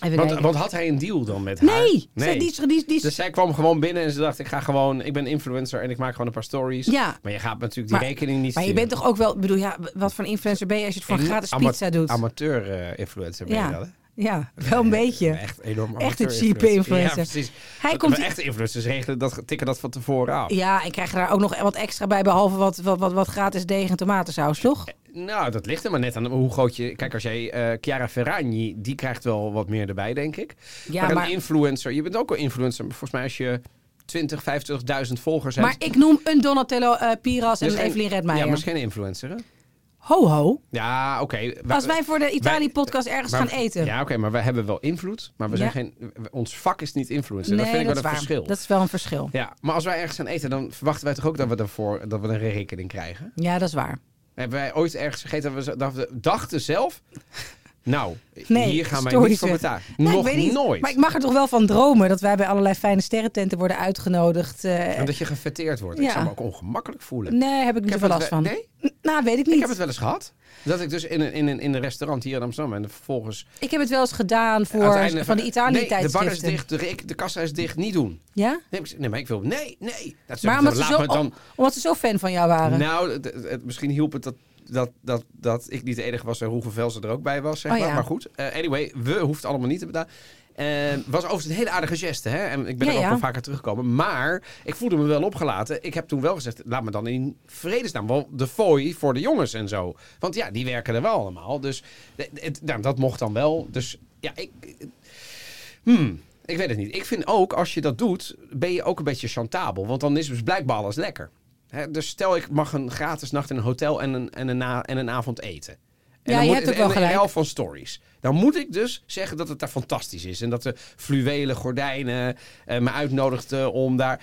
[SPEAKER 1] even
[SPEAKER 2] Want,
[SPEAKER 1] kijken.
[SPEAKER 2] want had hij een deal dan met haar?
[SPEAKER 1] nee, Zij, die, is- die, is- die, is-
[SPEAKER 2] Dus zij kwam gewoon binnen en ze dacht, ik ga gewoon, ik ben influencer en ik maak gewoon een paar stories.
[SPEAKER 1] Ja.
[SPEAKER 2] Maar je gaat natuurlijk die rekening niet
[SPEAKER 1] Maar je bent toch ook wel, ik bedoel, ja, wat voor een influencer ben je als je het voor een gratis pizza doet?
[SPEAKER 2] Amateur eh, influencer ben je wel,
[SPEAKER 1] ja,
[SPEAKER 2] hè?
[SPEAKER 1] ja, wel een beetje.
[SPEAKER 2] Echt enorm
[SPEAKER 1] Echt een
[SPEAKER 2] amateur
[SPEAKER 1] cheap influencer.
[SPEAKER 2] Ja, precies.
[SPEAKER 1] Hij
[SPEAKER 2] Dat-
[SPEAKER 1] komt
[SPEAKER 2] maar
[SPEAKER 1] i-
[SPEAKER 2] Echte influencers regelen dat, tikken dat van tevoren af.
[SPEAKER 1] Ja, en krijg je daar ook nog wat extra bij, behalve wat, wat, wat, wat gratis deeg en tomatensaus, toch?
[SPEAKER 2] Nou, dat ligt er maar net aan hoe groot je... Kijk, als jij eh Chiara Ferragni, die krijgt wel wat meer erbij, denk ik.
[SPEAKER 1] Ja,
[SPEAKER 2] maar een
[SPEAKER 1] maar-
[SPEAKER 2] influencer, je bent ook een influencer. maar Volgens mij als je 20, 50.000 volgers
[SPEAKER 1] Maar
[SPEAKER 2] hebt...
[SPEAKER 1] ik noem een Donatello eh, Piras en
[SPEAKER 2] Dus
[SPEAKER 1] een
[SPEAKER 2] geen-
[SPEAKER 1] Evelien Redmeijer.
[SPEAKER 2] Ja, maar is geen influencer, hè?
[SPEAKER 1] Ho, ho.
[SPEAKER 2] Ja, oké. Wij-
[SPEAKER 1] Als wij voor de Italië-podcast ergens
[SPEAKER 2] maar-
[SPEAKER 1] gaan eten.
[SPEAKER 2] Ja, oké, maar wij hebben wel invloed. Maar we zijn
[SPEAKER 1] Ja.
[SPEAKER 2] geen, we- ons vak is niet influencer.
[SPEAKER 1] nee,
[SPEAKER 2] dus dat vind ik
[SPEAKER 1] is
[SPEAKER 2] wel een
[SPEAKER 1] waar.
[SPEAKER 2] verschil.
[SPEAKER 1] Dat is wel een verschil. Ja,
[SPEAKER 2] Ja, maar als wij ergens gaan eten, dan verwachten wij toch ook dat we, daarvoor, dat we een rekening krijgen?
[SPEAKER 1] dat is waar.
[SPEAKER 2] Hebben wij ooit ergens gegeten dat we, dat we dachten zelf... Nou,
[SPEAKER 1] Nee,
[SPEAKER 2] hier gaan wij
[SPEAKER 1] stories
[SPEAKER 2] niet voor
[SPEAKER 1] weg.
[SPEAKER 2] betalen.
[SPEAKER 1] Nou, ik
[SPEAKER 2] Nog
[SPEAKER 1] weet niet,
[SPEAKER 2] nooit.
[SPEAKER 1] Maar ik mag er toch wel van dromen dat wij bij allerlei fijne sterrententen worden uitgenodigd. eh,
[SPEAKER 2] Omdat je gefetteerd wordt.
[SPEAKER 1] Ja.
[SPEAKER 2] Ik zou me ook ongemakkelijk voelen.
[SPEAKER 1] nee, heb ik niet
[SPEAKER 2] heb
[SPEAKER 1] zoveel last
[SPEAKER 2] het wel-
[SPEAKER 1] van.
[SPEAKER 2] Nee?
[SPEAKER 1] N- Nou, weet ik niet.
[SPEAKER 2] Ik heb het wel eens gehad. Dat ik dus in een, in een, in een restaurant hier in Amsterdam... en vervolgens...
[SPEAKER 1] wel eens gedaan voor,
[SPEAKER 2] uiteindelijk-
[SPEAKER 1] van de
[SPEAKER 2] Nee, de
[SPEAKER 1] Italië-tijdschriften.
[SPEAKER 2] bar is dicht, de, rek- de kassa is dicht, niet doen.
[SPEAKER 1] Ja?
[SPEAKER 2] Nee, ik- nee, maar ik wil. Nee, nee. Dat
[SPEAKER 1] Maar
[SPEAKER 2] maar
[SPEAKER 1] omdat ze,
[SPEAKER 2] laat
[SPEAKER 1] zo,
[SPEAKER 2] me dan.
[SPEAKER 1] omdat ze zo fan van jou waren.
[SPEAKER 2] Nou, het- het- het- misschien hielp het dat, dat, dat, dat ik niet de enige was en hoeveel Velsen er ook bij was. Zeg
[SPEAKER 1] Oh,
[SPEAKER 2] maar.
[SPEAKER 1] ja.
[SPEAKER 2] maar goed, eh, anyway, we hoeft allemaal niet te betalen. Eh, was overigens een hele aardige geste, hè? En ik ben
[SPEAKER 1] Ja,
[SPEAKER 2] er ook
[SPEAKER 1] ja.
[SPEAKER 2] wel vaker teruggekomen. Maar ik voelde me wel opgelaten. Ik heb toen wel gezegd, laat me dan in vredesnaam wel de fooi voor de jongens en zo. Want ja, die werken er wel allemaal. Dus eh, het- nou, dat mocht dan wel. Dus ja, ik, Hmm, ik weet het niet. Ik vind ook, als je dat doet, ben je ook een beetje chantabel. Want dan is dus blijkbaar alles lekker. Hè, dus stel, ik mag een gratis nacht in een hotel en een, en een, na- en een avond eten.
[SPEAKER 1] Ja,
[SPEAKER 2] En dan
[SPEAKER 1] je
[SPEAKER 2] moet-
[SPEAKER 1] hebt ook wel
[SPEAKER 2] en- en
[SPEAKER 1] gelijk.
[SPEAKER 2] ruil van stories. Dan moet ik dus zeggen dat het daar fantastisch is. En dat de fluwelen gordijnen eh, me uitnodigden om daar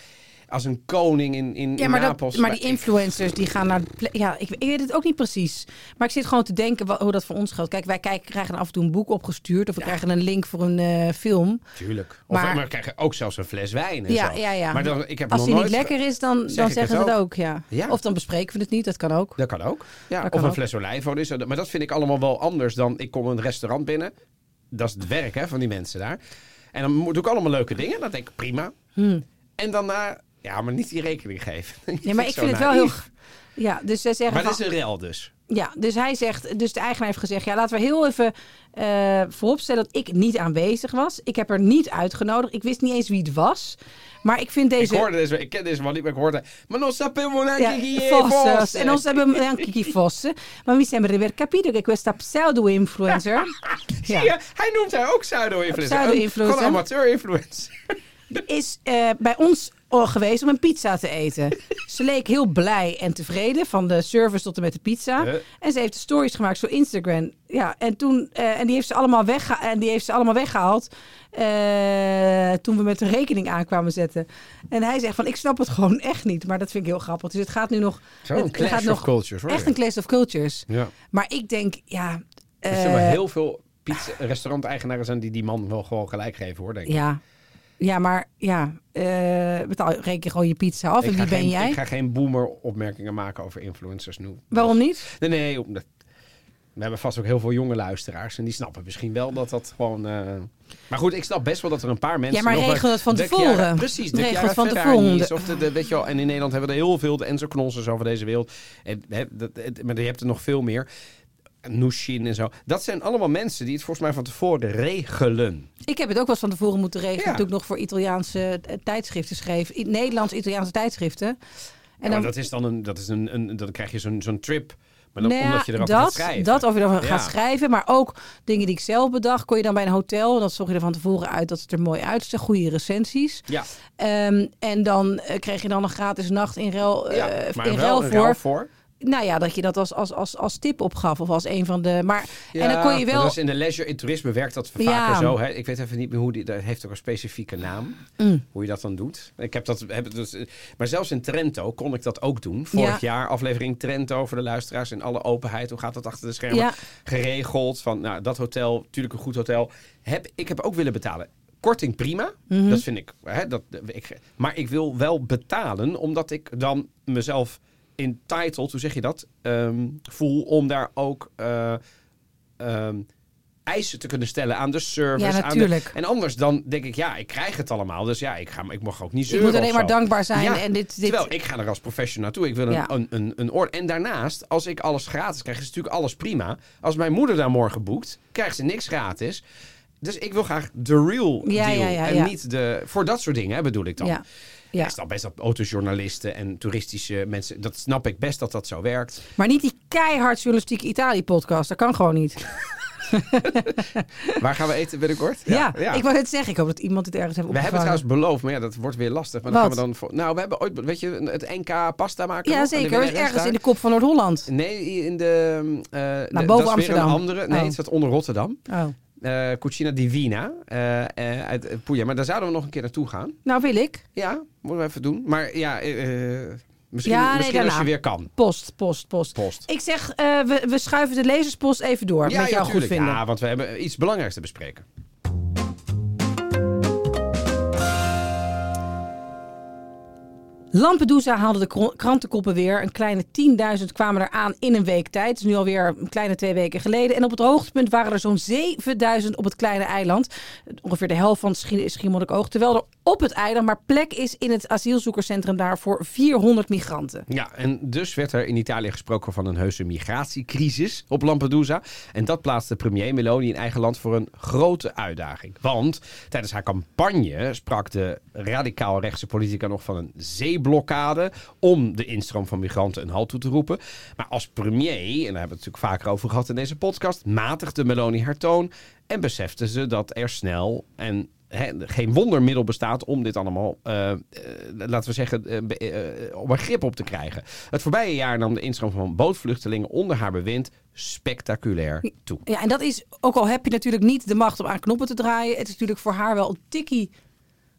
[SPEAKER 2] als een koning in, in
[SPEAKER 1] ja, maar,
[SPEAKER 2] Napels...
[SPEAKER 1] dat, maar die
[SPEAKER 2] ik-
[SPEAKER 1] influencers die gaan naar. ple- Ja, ik, ik weet het ook niet precies. Maar ik zit gewoon te denken wa- hoe dat voor ons geldt. Kijk, wij kijken, krijgen af en toe een boek opgestuurd. Of we krijgen een link voor een eh, film.
[SPEAKER 2] Tuurlijk. Of,
[SPEAKER 1] Maar-
[SPEAKER 2] maar, we krijgen ook zelfs een fles wijn en
[SPEAKER 1] Ja,
[SPEAKER 2] zo.
[SPEAKER 1] ja, ja.
[SPEAKER 2] Maar dan, ik heb
[SPEAKER 1] Als
[SPEAKER 2] nog
[SPEAKER 1] die niet
[SPEAKER 2] nooit ge-
[SPEAKER 1] lekker is, dan, dan
[SPEAKER 2] Zeg ik
[SPEAKER 1] zeggen
[SPEAKER 2] het
[SPEAKER 1] ze het
[SPEAKER 2] ook.
[SPEAKER 1] ook. Ja.
[SPEAKER 2] Ja.
[SPEAKER 1] Of dan bespreken we het niet. Dat kan ook.
[SPEAKER 2] Dat kan ook. Ja,
[SPEAKER 1] Dat
[SPEAKER 2] of
[SPEAKER 1] kan
[SPEAKER 2] een
[SPEAKER 1] ook.
[SPEAKER 2] fles olijfolie. zo. Maar dat vind ik allemaal wel anders dan ik kom een restaurant binnen. Dat is het werk hè, van die mensen daar. En dan moet- doe ik allemaal leuke dingen. Dan denk ik prima.
[SPEAKER 1] Hmm.
[SPEAKER 2] En daarna, ja, maar niet die rekening geven.
[SPEAKER 1] Nee, maar ik vind het wel heel... g- Ja, dus ze zeggen...
[SPEAKER 2] Maar
[SPEAKER 1] van-
[SPEAKER 2] dat is een rel dus.
[SPEAKER 1] Ja, dus hij zegt, dus de eigenaar heeft gezegd: ja, laten we heel even eh, vooropstellen dat ik niet aanwezig was. Ik heb er niet uitgenodigd. Ik wist niet eens wie het was. Maar ik vind
[SPEAKER 2] Ik
[SPEAKER 1] deze.
[SPEAKER 2] hoorde deze, ik ken deze man niet, maar ik hoorde... Maar non sapevo neanche chi è
[SPEAKER 1] Vossers.
[SPEAKER 2] Voss.
[SPEAKER 1] En ons hebben we anche chi fosse. Maar mi sembra di aver capito che questa pseudo-influencer
[SPEAKER 2] Zie je, hij noemt haar ook pseudo-influencer.
[SPEAKER 1] Pseudo-influencer.
[SPEAKER 2] Gewoon een amateur-influencer.
[SPEAKER 1] is eh, bij ons al geweest om een pizza te eten. Ze leek heel blij en tevreden van de service tot en met de pizza.
[SPEAKER 2] Eh.
[SPEAKER 1] En ze heeft stories gemaakt voor Instagram. Ja, en, toen, eh, en, die heeft ze allemaal weggeha- en die heeft ze allemaal weggehaald eh, toen we met de rekening aankwamen zetten. En hij zegt van, ik snap het gewoon echt niet. Maar dat vind ik heel grappig. Dus het gaat nu nog...
[SPEAKER 2] Zo'n
[SPEAKER 1] het, het
[SPEAKER 2] clash
[SPEAKER 1] gaat
[SPEAKER 2] of
[SPEAKER 1] nog
[SPEAKER 2] cultures, hoor.
[SPEAKER 1] Echt een clash of cultures.
[SPEAKER 2] Ja.
[SPEAKER 1] Maar ik denk, ja...
[SPEAKER 2] Er zullen
[SPEAKER 1] eh,
[SPEAKER 2] heel veel pizza- restaurant-eigenaren zijn die die man wel gewoon gelijk geven, hoor, denk ik.
[SPEAKER 1] eh, ja. ja, maar ja, eh, betaal, reken gewoon je pizza af.
[SPEAKER 2] ik
[SPEAKER 1] en
[SPEAKER 2] ga
[SPEAKER 1] wie ben
[SPEAKER 2] geen,
[SPEAKER 1] jij?
[SPEAKER 2] Ik ga geen boomer-opmerkingen maken over influencers nu.
[SPEAKER 1] Waarom niet?
[SPEAKER 2] Nee, nee, omdat... We hebben vast ook heel veel jonge luisteraars en die snappen misschien wel dat dat gewoon... eh, Maar goed, ik snap best wel dat er een paar mensen...
[SPEAKER 1] Ja, maar
[SPEAKER 2] nog wel-
[SPEAKER 1] regel het van
[SPEAKER 2] de
[SPEAKER 1] tevoren.
[SPEAKER 2] Chiara- precies, de
[SPEAKER 1] Regel het
[SPEAKER 2] Chiara
[SPEAKER 1] van
[SPEAKER 2] Ferragni
[SPEAKER 1] tevoren.
[SPEAKER 2] is Of de, de- weet je wel, en in Nederland hebben we er heel veel, de Enzo Knossers over deze wereld. En, hè, dat, het- maar je hebt er nog veel meer. Nushin en zo. Dat zijn allemaal mensen die het volgens mij van tevoren regelen.
[SPEAKER 1] Ik heb het ook wel eens van tevoren moeten regelen.
[SPEAKER 2] Ja.
[SPEAKER 1] Toen ik nog voor Italiaanse eh, tijdschriften schreef. I- Nederlands-Italiaanse tijdschriften. En
[SPEAKER 2] Ja, maar Oh, dat is dan een, dat is een, een dan krijg je zo'n zo'n trip. Maar dan
[SPEAKER 1] Nou ja,
[SPEAKER 2] omdat je erover gaat
[SPEAKER 1] dat,
[SPEAKER 2] schrijven.
[SPEAKER 1] dat of je erover
[SPEAKER 2] Ja.
[SPEAKER 1] gaat schrijven. Maar ook dingen die ik zelf bedacht. Kon je dan bij een hotel. Dat zorg je er van tevoren uit dat het er mooi uitziet. Goede recensies.
[SPEAKER 2] Ja,
[SPEAKER 1] Ehm, en dan eh, kreeg je dan een gratis nacht in ruil, eh,
[SPEAKER 2] ja. maar
[SPEAKER 1] in
[SPEAKER 2] wel
[SPEAKER 1] ruil
[SPEAKER 2] een
[SPEAKER 1] voor.
[SPEAKER 2] ruil voor.
[SPEAKER 1] Nou ja, dat je dat als, als, als, als tip opgaf. Of als een van de... Maar, en dan
[SPEAKER 2] Ja,
[SPEAKER 1] kon je
[SPEAKER 2] maar
[SPEAKER 1] wel...
[SPEAKER 2] dat is in de leisure, in toerisme werkt dat vaker
[SPEAKER 1] Ja.
[SPEAKER 2] zo. Hè? Ik weet even niet meer hoe die. Dat heeft ook een specifieke naam.
[SPEAKER 1] Mm.
[SPEAKER 2] Hoe je dat dan doet. Ik heb dat, heb, het dus, eh, maar zelfs in Trento kon ik dat ook doen. Vorig jaar aflevering Trento voor de luisteraars in alle openheid. Hoe gaat dat achter de schermen?
[SPEAKER 1] Ja.
[SPEAKER 2] Geregeld van nou, dat hotel, natuurlijk een goed hotel. Heb, ik heb ook willen betalen. Korting prima,
[SPEAKER 1] Mhm.
[SPEAKER 2] dat vind ik, hè, dat, ik. Maar ik wil wel betalen, omdat ik dan mezelf entitled, hoe zeg je dat, ehm, voel om daar ook eh, ehm, eisen te kunnen stellen aan de service.
[SPEAKER 1] Ja,
[SPEAKER 2] aan de-
[SPEAKER 1] natuurlijk.
[SPEAKER 2] en anders dan denk ik, ja, ik krijg het allemaal. Dus ja, ik, ga, ik mag ook niet
[SPEAKER 1] moet
[SPEAKER 2] zeuren
[SPEAKER 1] alleen
[SPEAKER 2] of
[SPEAKER 1] maar
[SPEAKER 2] zo.
[SPEAKER 1] dankbaar zijn
[SPEAKER 2] Ja,
[SPEAKER 1] en dit- dit-
[SPEAKER 2] Terwijl, ik ga er als professional naartoe. Ik wil een,
[SPEAKER 1] Ja.
[SPEAKER 2] een, een, een oor. En daarnaast, als ik alles gratis krijg, is natuurlijk alles prima. Als mijn moeder daar morgen boekt, krijgt ze niks gratis. Dus ik wil graag de real
[SPEAKER 1] Ja,
[SPEAKER 2] deal.
[SPEAKER 1] ja, ja,
[SPEAKER 2] en
[SPEAKER 1] ja.
[SPEAKER 2] niet de... Voor dat soort dingen hè, bedoel ik dan.
[SPEAKER 1] Ja.
[SPEAKER 2] Ja.
[SPEAKER 1] Ja.
[SPEAKER 2] Ik snap best dat autojournalisten en toeristische mensen... Dat snap ik best dat dat zo werkt.
[SPEAKER 1] Maar niet die keihard journalistieke Italië-podcast. Dat kan gewoon niet.
[SPEAKER 2] Waar gaan we eten binnenkort?
[SPEAKER 1] Ja, ik wou het zeggen. Ik hoop dat iemand het ergens heeft
[SPEAKER 2] We hebben
[SPEAKER 1] opgevangen.
[SPEAKER 2] trouwens beloofd, maar ja, dat wordt weer lastig. Maar dan
[SPEAKER 1] Wat?
[SPEAKER 2] gaan we dan voor... Nou, we hebben ooit, weet je, het NK pasta maken.
[SPEAKER 1] Ja,
[SPEAKER 2] nog, aan de
[SPEAKER 1] zeker.
[SPEAKER 2] WRS
[SPEAKER 1] ergens
[SPEAKER 2] daar.
[SPEAKER 1] in de kop van Noord-Holland.
[SPEAKER 2] Nee, in de... eh nou,
[SPEAKER 1] boven
[SPEAKER 2] Weer
[SPEAKER 1] Amsterdam.
[SPEAKER 2] een andere. Nee,
[SPEAKER 1] Oh.
[SPEAKER 2] het staat onder Rotterdam.
[SPEAKER 1] Oh.
[SPEAKER 2] Eh Cucina Divina eh, eh, uit eh, Puglia. Maar daar zouden we nog een keer naartoe gaan.
[SPEAKER 1] Nou, wil ik.
[SPEAKER 2] Ja, moeten we even doen. Maar ja, eh, eh, misschien,
[SPEAKER 1] Ja, nee,
[SPEAKER 2] misschien als
[SPEAKER 1] daarna.
[SPEAKER 2] je weer kan.
[SPEAKER 1] Post, post, post.
[SPEAKER 2] Post.
[SPEAKER 1] Ik zeg, eh, we, we schuiven de lezerspost even door.
[SPEAKER 2] ja,
[SPEAKER 1] met jou goed
[SPEAKER 2] tuurlijk.
[SPEAKER 1] vinden.
[SPEAKER 2] Ja, want we hebben iets belangrijks te bespreken.
[SPEAKER 1] Lampedusa haalde de kro- krantenkoppen weer. Een kleine 10.000 kwamen er aan in een week tijd. Het is nu alweer een kleine twee weken geleden. En op het hoogtepunt waren er zo'n 7.000 op het kleine eiland. Ongeveer de helft van Schie- Schiermonnikoog. Terwijl er op het eiland maar plek is in het asielzoekerscentrum daar voor 400 migranten.
[SPEAKER 2] Ja, en dus werd er in Italië gesproken van een heuse migratiecrisis op Lampedusa. En dat plaatste premier Meloni in eigen land voor een grote uitdaging. Want tijdens haar campagne sprak de radicaal rechtse politica nog van een zeeblokkade om de instroom van migranten een halt toe te roepen. Maar als premier, en daar hebben we het natuurlijk vaker over gehad in deze podcast, matigde Meloni haar toon en besefte ze dat er snel en hè, geen wondermiddel bestaat om dit allemaal, eh, eh, laten we zeggen, eh, be- eh, om een grip op te krijgen. Het voorbije jaar nam de instroom van bootvluchtelingen onder haar bewind spectaculair toe.
[SPEAKER 1] Ja, en dat is, ook al heb je natuurlijk niet de macht om aan knoppen te draaien. Het is natuurlijk voor haar wel een tikkie.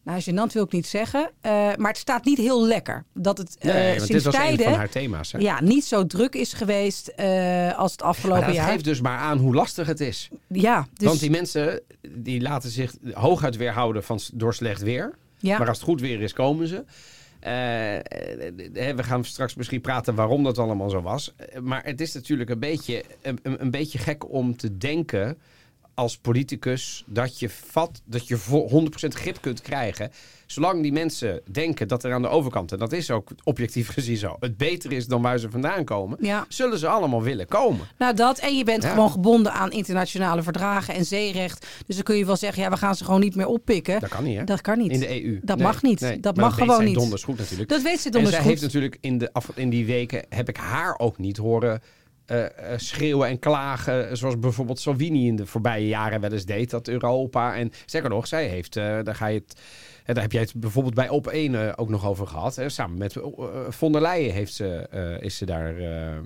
[SPEAKER 1] Nou, gênant wil ik niet zeggen. eh, maar het staat niet heel lekker. Dat het eh,
[SPEAKER 2] Nee, want
[SPEAKER 1] sinds
[SPEAKER 2] dit was een
[SPEAKER 1] tijden
[SPEAKER 2] van haar thema's. Hè?
[SPEAKER 1] ja, niet zo druk is geweest eh, als het
[SPEAKER 2] Maar
[SPEAKER 1] afgelopen
[SPEAKER 2] dat
[SPEAKER 1] jaar.
[SPEAKER 2] geeft dus maar aan hoe lastig het is.
[SPEAKER 1] Ja, dus
[SPEAKER 2] Want die mensen die laten zich hooguit weerhouden van, s- door slecht weer.
[SPEAKER 1] Ja.
[SPEAKER 2] Maar als het goed weer is, komen ze. Eh, eh, eh, we gaan straks misschien praten waarom dat allemaal zo was. Eh, Maar het is natuurlijk een beetje, een, een- een beetje gek om te denken als politicus dat je vat, dat je vo- 100% grip kunt krijgen. Zolang die mensen denken dat er aan de overkant, en dat is ook objectief gezien zo, het beter is dan waar ze vandaan komen,
[SPEAKER 1] Ja.
[SPEAKER 2] zullen ze allemaal willen komen.
[SPEAKER 1] Nou, dat en je bent
[SPEAKER 2] Ja.
[SPEAKER 1] gewoon gebonden aan internationale verdragen en zeerecht. Dus dan kun je wel zeggen, ja, we gaan ze gewoon niet meer oppikken.
[SPEAKER 2] Dat kan niet, hè?
[SPEAKER 1] Dat kan niet.
[SPEAKER 2] In de EU.
[SPEAKER 1] Dat
[SPEAKER 2] Nee,
[SPEAKER 1] mag niet.
[SPEAKER 2] nee.
[SPEAKER 1] Dat
[SPEAKER 2] Maar
[SPEAKER 1] mag
[SPEAKER 2] weet
[SPEAKER 1] gewoon
[SPEAKER 2] zij
[SPEAKER 1] niet.
[SPEAKER 2] donders goed natuurlijk.
[SPEAKER 1] Dat weet ze
[SPEAKER 2] en
[SPEAKER 1] donders
[SPEAKER 2] zij
[SPEAKER 1] goed.
[SPEAKER 2] heeft natuurlijk in, de af, in die weken, heb ik haar ook niet horen eh, eh, schreeuwen en klagen. Zoals bijvoorbeeld Salvini in de voorbije jaren wel eens deed. Dat Europa en, zeker nog, zij heeft, eh, daar ga je het... eh, Daar heb jij het bijvoorbeeld bij Op1 eh, ook nog over gehad. Hè? Samen met eh, von der Leyen heeft ze, eh, is ze daar, eh, eh,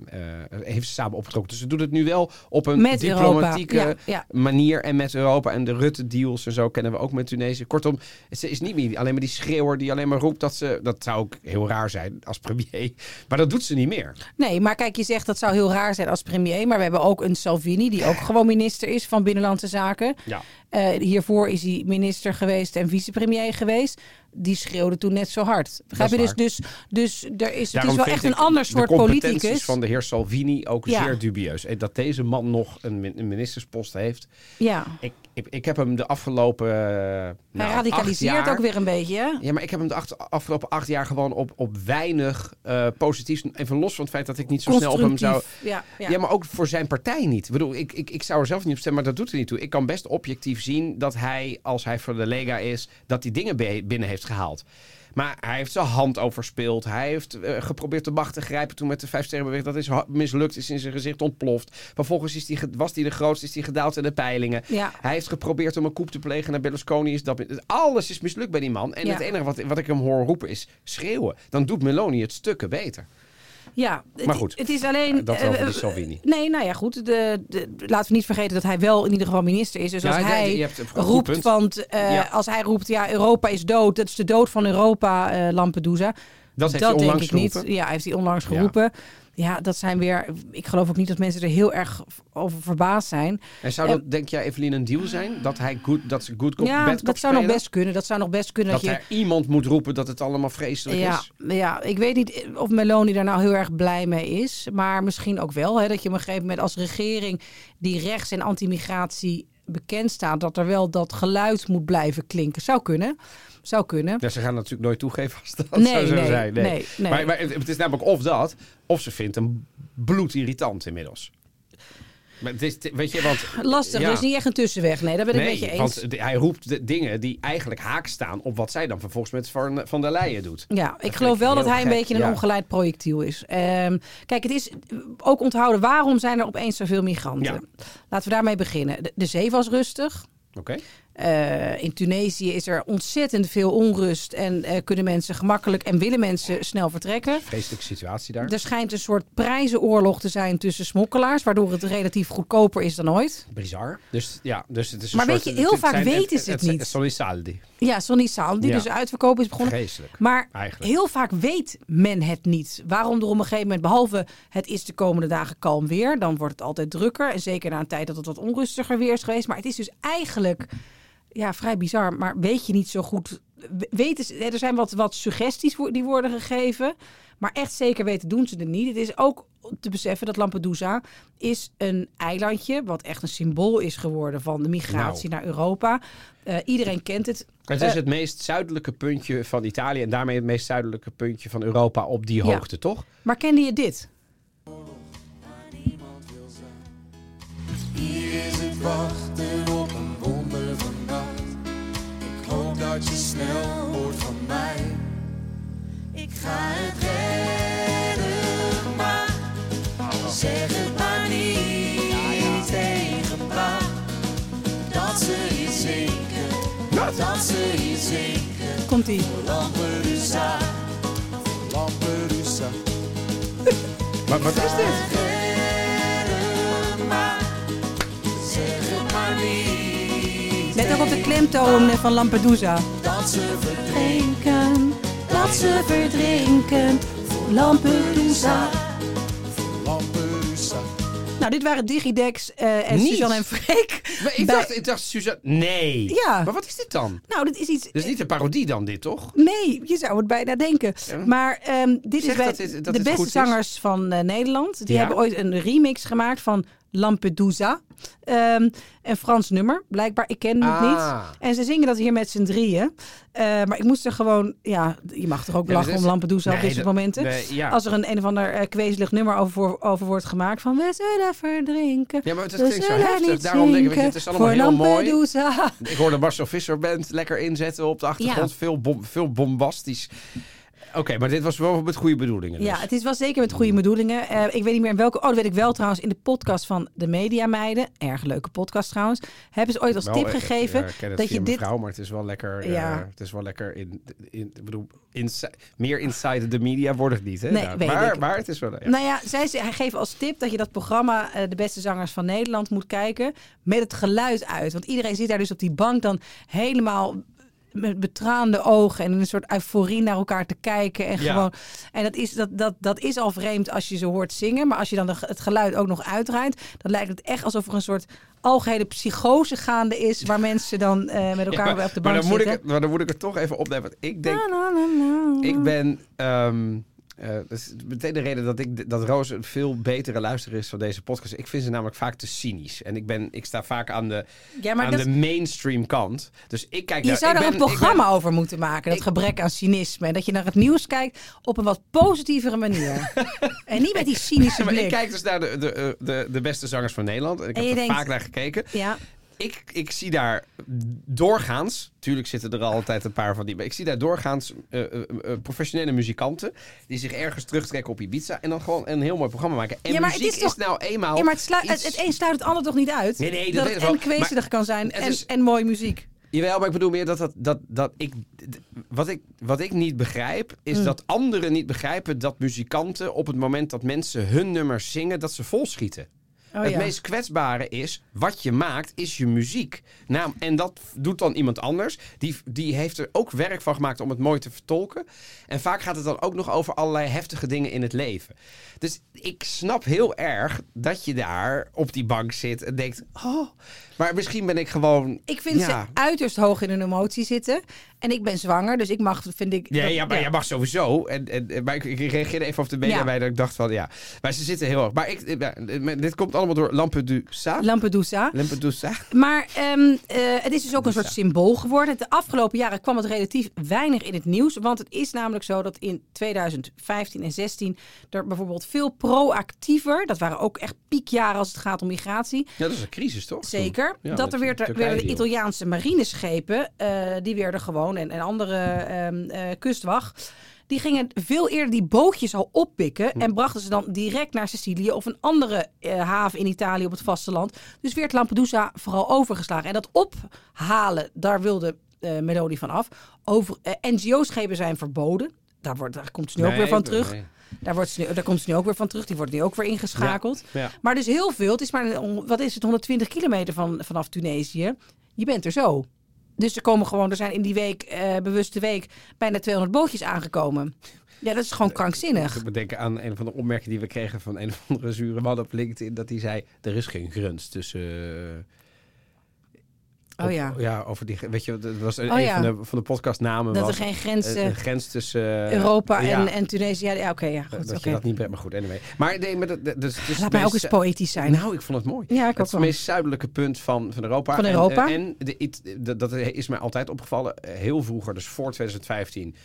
[SPEAKER 2] heeft ze samen opgetrokken. Dus ze doet het nu wel op een
[SPEAKER 1] Met
[SPEAKER 2] diplomatieke
[SPEAKER 1] Europa. Ja, ja.
[SPEAKER 2] manier en met Europa en de Rutte-deals en zo kennen we ook met Tunesië. Kortom, ze is niet meer alleen maar die schreeuwer die alleen maar roept dat ze. Dat zou ook heel raar zijn als premier, maar dat doet ze niet meer.
[SPEAKER 1] Nee, maar kijk, je zegt dat zou heel raar zijn als premier. Maar we hebben ook een Salvini, die ook gewoon minister is van Binnenlandse Zaken.
[SPEAKER 2] Ja.
[SPEAKER 1] Eh, hiervoor is hij minister geweest en vicepremier geweest. Die schreeuwde toen net zo hard. Begrijp je?
[SPEAKER 2] is
[SPEAKER 1] Dus, dus, dus er is, het is
[SPEAKER 2] Daarom
[SPEAKER 1] wel
[SPEAKER 2] vind
[SPEAKER 1] echt
[SPEAKER 2] ik
[SPEAKER 1] een ander soort
[SPEAKER 2] de competenties
[SPEAKER 1] politicus.
[SPEAKER 2] van de heer Salvini ook
[SPEAKER 1] Ja.
[SPEAKER 2] zeer dubieus. En dat deze man nog een min- een ministerspost heeft.
[SPEAKER 1] Ja.
[SPEAKER 2] Ik, ik, ik heb hem de afgelopen. eh,
[SPEAKER 1] Hij
[SPEAKER 2] nou, acht
[SPEAKER 1] radicaliseert
[SPEAKER 2] jaar-
[SPEAKER 1] ook weer een beetje, hè?
[SPEAKER 2] Ja, maar ik heb hem de acht- afgelopen acht jaar gewoon op, op weinig eh, positiefs. Even los van het feit dat ik niet zo snel op hem zou.
[SPEAKER 1] Constructief. Ja, ja.
[SPEAKER 2] Ja. maar ook voor zijn partij niet. Ik bedoel, ik, ik, ik zou er zelf niet op stemmen, maar dat doet er niet toe. Ik kan best objectief zien dat hij, als hij voor de Lega is, dat hij dingen be- binnen heeft gehaald. Maar hij heeft zijn hand overspeeld. Hij heeft eh, geprobeerd de macht te grijpen toen met de vijfsterrenbeweging. Dat is ha- mislukt, is in zijn gezicht ontploft. Vervolgens is die, ge- was hij de grootste, is hij gedaald in de peilingen.
[SPEAKER 1] Ja.
[SPEAKER 2] Hij heeft geprobeerd om een coup te plegen naar Berlusconi. Is dat, alles is mislukt bij die man. En
[SPEAKER 1] Ja.
[SPEAKER 2] het enige wat, wat ik hem hoor roepen is schreeuwen. Dan doet Meloni het stukken beter.
[SPEAKER 1] Ja, het-
[SPEAKER 2] Maar goed,
[SPEAKER 1] Het is alleen.
[SPEAKER 2] dat wel
[SPEAKER 1] eh,
[SPEAKER 2] van die Salvini.
[SPEAKER 1] Nee, nou ja, goed. De, de- laten we niet vergeten dat hij wel in ieder geval minister is. Dus
[SPEAKER 2] Ja,
[SPEAKER 1] als
[SPEAKER 2] ja,
[SPEAKER 1] hij
[SPEAKER 2] je hebt een goed
[SPEAKER 1] roept,
[SPEAKER 2] punt.
[SPEAKER 1] want eh,
[SPEAKER 2] Ja.
[SPEAKER 1] als hij roept, ja, Europa is dood. Dat is de dood van Europa, eh, Lampedusa.
[SPEAKER 2] Dat heeft hij
[SPEAKER 1] denk
[SPEAKER 2] onlangs
[SPEAKER 1] ik niet.
[SPEAKER 2] geroepen.
[SPEAKER 1] Ja, hij heeft hij onlangs
[SPEAKER 2] Ja.
[SPEAKER 1] geroepen. Ja. dat zijn weer. Ik geloof ook niet dat mensen er heel erg over verbaasd zijn.
[SPEAKER 2] En zou dat, denk jij, Evelien, een deal zijn? Dat, hij good, dat ze good cop,
[SPEAKER 1] ja,
[SPEAKER 2] bad
[SPEAKER 1] dat
[SPEAKER 2] cop
[SPEAKER 1] zou nog
[SPEAKER 2] spelen?
[SPEAKER 1] best kunnen. Dat zou nog best kunnen
[SPEAKER 2] Dat
[SPEAKER 1] dat, je.
[SPEAKER 2] er iemand moet roepen dat het allemaal vreselijk
[SPEAKER 1] Ja,
[SPEAKER 2] is?
[SPEAKER 1] ja, ik weet niet of Meloni daar nou heel erg blij mee is. Maar misschien ook wel. Hè, dat je op een gegeven moment als regering die rechts- en anti-migratie bekend staat... dat er wel dat geluid moet blijven klinken. Zou kunnen. Zou kunnen.
[SPEAKER 2] Ja, ze gaan natuurlijk nooit toegeven als dat
[SPEAKER 1] Nee,
[SPEAKER 2] zou zo
[SPEAKER 1] nee,
[SPEAKER 2] zijn. Nee.
[SPEAKER 1] nee, nee.
[SPEAKER 2] Maar, maar het, het is namelijk of dat, of ze vindt hem bloedirritant inmiddels. Maar het is, weet je, want...
[SPEAKER 1] Lastig,
[SPEAKER 2] ja.
[SPEAKER 1] er is niet echt een tussenweg. Nee, daar ben ik
[SPEAKER 2] nee,
[SPEAKER 1] met je eens.
[SPEAKER 2] want de- hij roept de dingen die eigenlijk haak staan op wat zij dan vervolgens met Van, van der Leyen doet.
[SPEAKER 1] Ja, ik
[SPEAKER 2] vind
[SPEAKER 1] geloof
[SPEAKER 2] ik
[SPEAKER 1] wel dat
[SPEAKER 2] heel
[SPEAKER 1] hij een
[SPEAKER 2] gek,
[SPEAKER 1] beetje een
[SPEAKER 2] ja.
[SPEAKER 1] ongeleid projectiel is. Ehm, kijk, het is ook onthouden waarom zijn er opeens zoveel migranten.
[SPEAKER 2] Ja.
[SPEAKER 1] Laten we daarmee beginnen. De, de zee was rustig.
[SPEAKER 2] Oké?
[SPEAKER 1] Eh, in Tunesië is er ontzettend veel onrust en eh, kunnen mensen gemakkelijk en willen mensen snel vertrekken.
[SPEAKER 2] Vreselijke situatie daar.
[SPEAKER 1] Er schijnt een soort prijzenoorlog te zijn tussen smokkelaars, waardoor het relatief goedkoper is dan ooit.
[SPEAKER 2] Bizar. Dus ja, dus het is een
[SPEAKER 1] Maar weet
[SPEAKER 2] soort-
[SPEAKER 1] je, heel vaak
[SPEAKER 2] zijn-
[SPEAKER 1] weten ze het niet.
[SPEAKER 2] Sorry, Saldi.
[SPEAKER 1] Ja, Sonny Saal, die
[SPEAKER 2] Ja.
[SPEAKER 1] dus uitverkoop is begonnen.
[SPEAKER 2] Vreselijk,
[SPEAKER 1] Maar
[SPEAKER 2] eigenlijk.
[SPEAKER 1] heel vaak weet men het niet. Waarom er op een gegeven moment, behalve het is de komende dagen kalm weer, dan wordt het altijd drukker. En zeker na een tijd dat het wat onrustiger weer is geweest. Maar het is dus eigenlijk ja, vrij bizar. Maar weet je niet zo goed. we- Weten ze, er zijn wat, wat suggesties wo- die worden gegeven. Maar echt zeker weten doen ze er niet. Het is ook te beseffen dat Lampedusa is een eilandje... wat echt een symbool is geworden van de migratie
[SPEAKER 2] Nou.
[SPEAKER 1] naar Europa. Eh, iedereen kent het.
[SPEAKER 2] Het is het meest zuidelijke puntje van Italië en daarmee het meest zuidelijke puntje van Europa op
[SPEAKER 1] Ja.
[SPEAKER 2] die hoogte, toch?
[SPEAKER 1] Maar kende je dit?
[SPEAKER 5] Hier is het wachten op een wonder van nacht. Ik hoop dat je snel hoort van mij. Ik ga het redden, maar zeg het maar niet tegen pa. Dat ze hier zinken, dat ze hier zinken.
[SPEAKER 1] Komt-ie.
[SPEAKER 5] Lampedusa, Lampedusa.
[SPEAKER 2] Maar wat is dit?
[SPEAKER 5] Redden, maar zeg het maar niet.
[SPEAKER 1] Let ook op de klemtoon eh, van Lampedusa.
[SPEAKER 5] Dat ze verdrinken,
[SPEAKER 1] Drinken, dat ze verdrinken voor Lampedusa.
[SPEAKER 5] Lampedusa.
[SPEAKER 1] Nou, dit waren Digidex eh, en
[SPEAKER 2] Niet.
[SPEAKER 1] Suzanne en Freek.
[SPEAKER 2] Maar Ik
[SPEAKER 1] Bij-
[SPEAKER 2] dacht, ik dacht Suzanne... Nee!
[SPEAKER 1] Ja.
[SPEAKER 2] Maar wat is dit dan?
[SPEAKER 1] Nou, dit is iets...
[SPEAKER 2] Dit is niet een parodie dan, dit, toch?
[SPEAKER 1] Nee, je zou het bijna denken. Maar ehm, dit
[SPEAKER 2] Zeg
[SPEAKER 1] is bij
[SPEAKER 2] dat dit- dat
[SPEAKER 1] de
[SPEAKER 2] dit
[SPEAKER 1] beste
[SPEAKER 2] goed is.
[SPEAKER 1] zangers van eh, Nederland. Die
[SPEAKER 2] Ja.
[SPEAKER 1] hebben ooit een remix gemaakt van Lampedusa. Ehm, een Frans nummer, blijkbaar. Ik ken het
[SPEAKER 2] Ah.
[SPEAKER 1] niet. En ze zingen dat hier met z'n drieën. Eh, maar ik moest er gewoon... Ja, je mag er ook
[SPEAKER 2] Ja,
[SPEAKER 1] lachen
[SPEAKER 2] dit is-
[SPEAKER 1] om Lampedusa op
[SPEAKER 2] Nee,
[SPEAKER 1] dit soort
[SPEAKER 2] dat-
[SPEAKER 1] momenten.
[SPEAKER 2] nee, ja.
[SPEAKER 1] Als er een, een of ander eh, kwezelig nummer over, voor- over wordt gemaakt van... We zullen verdrinken,
[SPEAKER 2] Ja, maar het
[SPEAKER 1] we
[SPEAKER 2] klinkt zo
[SPEAKER 1] zullen
[SPEAKER 2] heftig.
[SPEAKER 1] niet
[SPEAKER 2] Daarom denk ik, weet je,
[SPEAKER 1] zinken
[SPEAKER 2] het is allemaal heel
[SPEAKER 1] voor
[SPEAKER 2] mooi.
[SPEAKER 1] Lampedusa.
[SPEAKER 2] Ik hoorde Marcel Visser Band lekker inzetten op de achtergrond. Veel, bom, veel bombastisch. Oké, maar dit was wel met goede bedoelingen.
[SPEAKER 1] Ja,
[SPEAKER 2] dus.
[SPEAKER 1] het is wel zeker met goede bedoelingen. Eh, ik weet niet meer in welke. Oh, dat weet ik wel trouwens. In de podcast van de Media Meiden. Erg leuke podcast trouwens. Hebben ze ooit als
[SPEAKER 2] Wel,
[SPEAKER 1] tip
[SPEAKER 2] eh,
[SPEAKER 1] gegeven
[SPEAKER 2] ja, ik ken het
[SPEAKER 1] dat je dit.
[SPEAKER 2] vrouw, maar het is wel lekker. eh,
[SPEAKER 1] Ja.
[SPEAKER 2] het is wel lekker in, in ik bedoel, insi- meer inside the media wordt het niet, hè?
[SPEAKER 1] Nee,
[SPEAKER 2] Nou,
[SPEAKER 1] weet
[SPEAKER 2] maar,
[SPEAKER 1] ik.
[SPEAKER 2] maar het is wel. ja.
[SPEAKER 1] Nou ja, zij, ze- hij geeft als tip dat je dat programma eh, De Beste Zangers van Nederland moet kijken. Met het geluid uit. Want iedereen zit daar dus op die bank dan helemaal met betraande ogen en in een soort euforie naar elkaar te kijken. En,
[SPEAKER 2] Ja.
[SPEAKER 1] gewoon, en dat, is, dat, dat, dat is al vreemd als je ze hoort zingen. Maar als je dan de- het geluid ook nog uitdraait, dan lijkt het echt alsof er een soort algehele psychose gaande is. Waar mensen dan eh, met elkaar
[SPEAKER 2] maar,
[SPEAKER 1] op de
[SPEAKER 2] maar
[SPEAKER 1] bank
[SPEAKER 2] dan moet
[SPEAKER 1] zitten.
[SPEAKER 2] ik,
[SPEAKER 1] Nou,
[SPEAKER 2] het- maar dan moet ik het toch even opnemen. Want ik denk,
[SPEAKER 1] Na, na, na, na.
[SPEAKER 2] ik ben. ehm eh, dat is meteen de reden dat ik d- dat Roos een veel betere luisteraar is van deze podcast. Ik vind ze namelijk vaak te cynisch. En ik, ben, ik sta vaak aan de,
[SPEAKER 1] Ja, maar
[SPEAKER 2] aan
[SPEAKER 1] dat-
[SPEAKER 2] de mainstream kant. Dus ik kijk
[SPEAKER 1] Je
[SPEAKER 2] naar-
[SPEAKER 1] zou
[SPEAKER 2] ik
[SPEAKER 1] daar
[SPEAKER 2] ben-
[SPEAKER 1] een
[SPEAKER 2] ik ben-
[SPEAKER 1] programma over moeten maken. Dat gebrek aan cynisme. En dat je naar het nieuws kijkt op een wat positievere manier. en niet met die cynische
[SPEAKER 2] Ja, maar
[SPEAKER 1] blik.
[SPEAKER 2] ik kijk dus naar de, de, eh, de, de beste zangers van Nederland. Ik
[SPEAKER 1] En
[SPEAKER 2] heb
[SPEAKER 1] je
[SPEAKER 2] er
[SPEAKER 1] denkt-
[SPEAKER 2] vaak naar gekeken.
[SPEAKER 1] Ja.
[SPEAKER 2] Ik, ik zie daar doorgaans, tuurlijk zitten er altijd een paar van die, maar ik zie daar doorgaans eh, eh, eh, professionele muzikanten die zich ergens terugtrekken op Ibiza en dan gewoon een heel mooi programma maken. En
[SPEAKER 1] Ja, maar het
[SPEAKER 2] muziek
[SPEAKER 1] is toch-
[SPEAKER 2] nou eenmaal.
[SPEAKER 1] Ja, maar het, sluit, het,
[SPEAKER 2] iets-
[SPEAKER 1] het een sluit het ander toch niet uit?
[SPEAKER 2] Nee, nee, dat
[SPEAKER 1] dat
[SPEAKER 2] weet
[SPEAKER 1] het
[SPEAKER 2] ik wel.
[SPEAKER 1] en kwezelig
[SPEAKER 2] Maar
[SPEAKER 1] kan zijn
[SPEAKER 2] het
[SPEAKER 1] en,
[SPEAKER 2] is-
[SPEAKER 1] en mooie muziek.
[SPEAKER 2] Jawel, maar ik bedoel meer dat, dat, dat, dat ik, d- wat ik. Wat ik niet begrijp, is
[SPEAKER 1] Hmm.
[SPEAKER 2] dat anderen niet begrijpen dat muzikanten op het moment dat mensen hun nummers zingen, dat ze volschieten.
[SPEAKER 1] Oh,
[SPEAKER 2] het
[SPEAKER 1] ja.
[SPEAKER 2] meest kwetsbare is, wat je maakt, is je muziek. Nou, en dat doet dan iemand anders. Die, die heeft er ook werk van gemaakt om het mooi te vertolken. En vaak gaat het dan ook nog over allerlei heftige dingen in het leven. Dus ik snap heel erg dat je daar op die bank zit en denkt... Oh, maar misschien ben ik gewoon...
[SPEAKER 1] Ik vind
[SPEAKER 2] ja.
[SPEAKER 1] ze uiterst hoog in hun emotie zitten. En ik ben zwanger, dus ik mag, vind ik...
[SPEAKER 2] Ja,
[SPEAKER 1] dat-
[SPEAKER 2] ja, maar jij mag sowieso. En, en, en- maar ik, ik reageerde even op de media
[SPEAKER 1] Ja.
[SPEAKER 2] bij dat ik dacht van ja. Maar ze zitten heel erg. Maar ik, eh, ja, dit komt allemaal door Lampedusa.
[SPEAKER 1] Lampedusa.
[SPEAKER 2] Lampedusa.
[SPEAKER 1] Maar ehm, eh, het is dus ook een soort symbool geworden. De afgelopen jaren kwam het relatief weinig in het nieuws. Want het is namelijk zo dat in 2015 en 16 er bijvoorbeeld veel proactiever, dat waren ook echt piekjaren als het gaat om migratie,
[SPEAKER 2] Ja, dat is een crisis toch?
[SPEAKER 1] Zeker.
[SPEAKER 2] Ja,
[SPEAKER 1] dat
[SPEAKER 2] met
[SPEAKER 1] er weer ter-
[SPEAKER 2] Turkije
[SPEAKER 1] werden de
[SPEAKER 2] deal.
[SPEAKER 1] Italiaanse marineschepen, eh, die werden gewoon, en, en andere ehm, eh, kustwacht, die gingen veel eerder die bootjes al oppikken
[SPEAKER 2] Hm.
[SPEAKER 1] en brachten ze dan direct naar Sicilië of een andere eh, haven in Italië op het vasteland. Dus werd Lampedusa vooral overgeslagen. En dat ophalen, daar wilde eh Melody van af. Over, eh, NGO-schepen zijn verboden. Daar, wordt, daar komt ze nu ook
[SPEAKER 2] Nee,
[SPEAKER 1] weer van
[SPEAKER 2] nee.
[SPEAKER 1] terug. Daar, wordt ze nu- daar komt ze nu ook weer van terug. Die wordt nu ook weer ingeschakeld.
[SPEAKER 2] Ja, ja.
[SPEAKER 1] Maar dus heel veel. Het is maar, een- wat is het, 120 kilometer van, vanaf Tunesië. Je bent er zo. Dus er komen gewoon, er zijn in die week, eh, bewuste week, bijna 200 bootjes aangekomen. Ja, dat is gewoon krankzinnig.
[SPEAKER 2] Ik moet denken aan een van de opmerkingen die we kregen van een of andere zure man op LinkedIn. Dat hij zei, er is geen grens tussen... eh,
[SPEAKER 1] Oh
[SPEAKER 2] op-
[SPEAKER 1] ja.
[SPEAKER 2] Ja, over die... Weet je, dat was een,
[SPEAKER 1] Oh
[SPEAKER 2] een
[SPEAKER 1] ja.
[SPEAKER 2] van de, van de podcastnamen.
[SPEAKER 1] Dat er
[SPEAKER 2] was,
[SPEAKER 1] geen grens,
[SPEAKER 2] eh,
[SPEAKER 1] eh,
[SPEAKER 2] een grens tussen... eh,
[SPEAKER 1] Europa
[SPEAKER 2] ja,
[SPEAKER 1] en, en Tunesië. Ja, ja, oké, ja,
[SPEAKER 2] Dat
[SPEAKER 1] goed.
[SPEAKER 2] je
[SPEAKER 1] oké.
[SPEAKER 2] dat niet bent, maar goed, anyway. Maar nee, maar dat, dat- dus, dus
[SPEAKER 1] Laat mij ook
[SPEAKER 2] deze-
[SPEAKER 1] eens poëtisch zijn.
[SPEAKER 2] Nou, ik vond het mooi.
[SPEAKER 1] Ja, ik ook
[SPEAKER 2] het is het
[SPEAKER 1] wel.
[SPEAKER 2] meest zuidelijke punt van, van Europa.
[SPEAKER 1] Van
[SPEAKER 2] En,
[SPEAKER 1] Europa.
[SPEAKER 2] eh, En, de, it- dat- dat is mij altijd opgevallen. eh, Heel vroeger, dus voor 2015,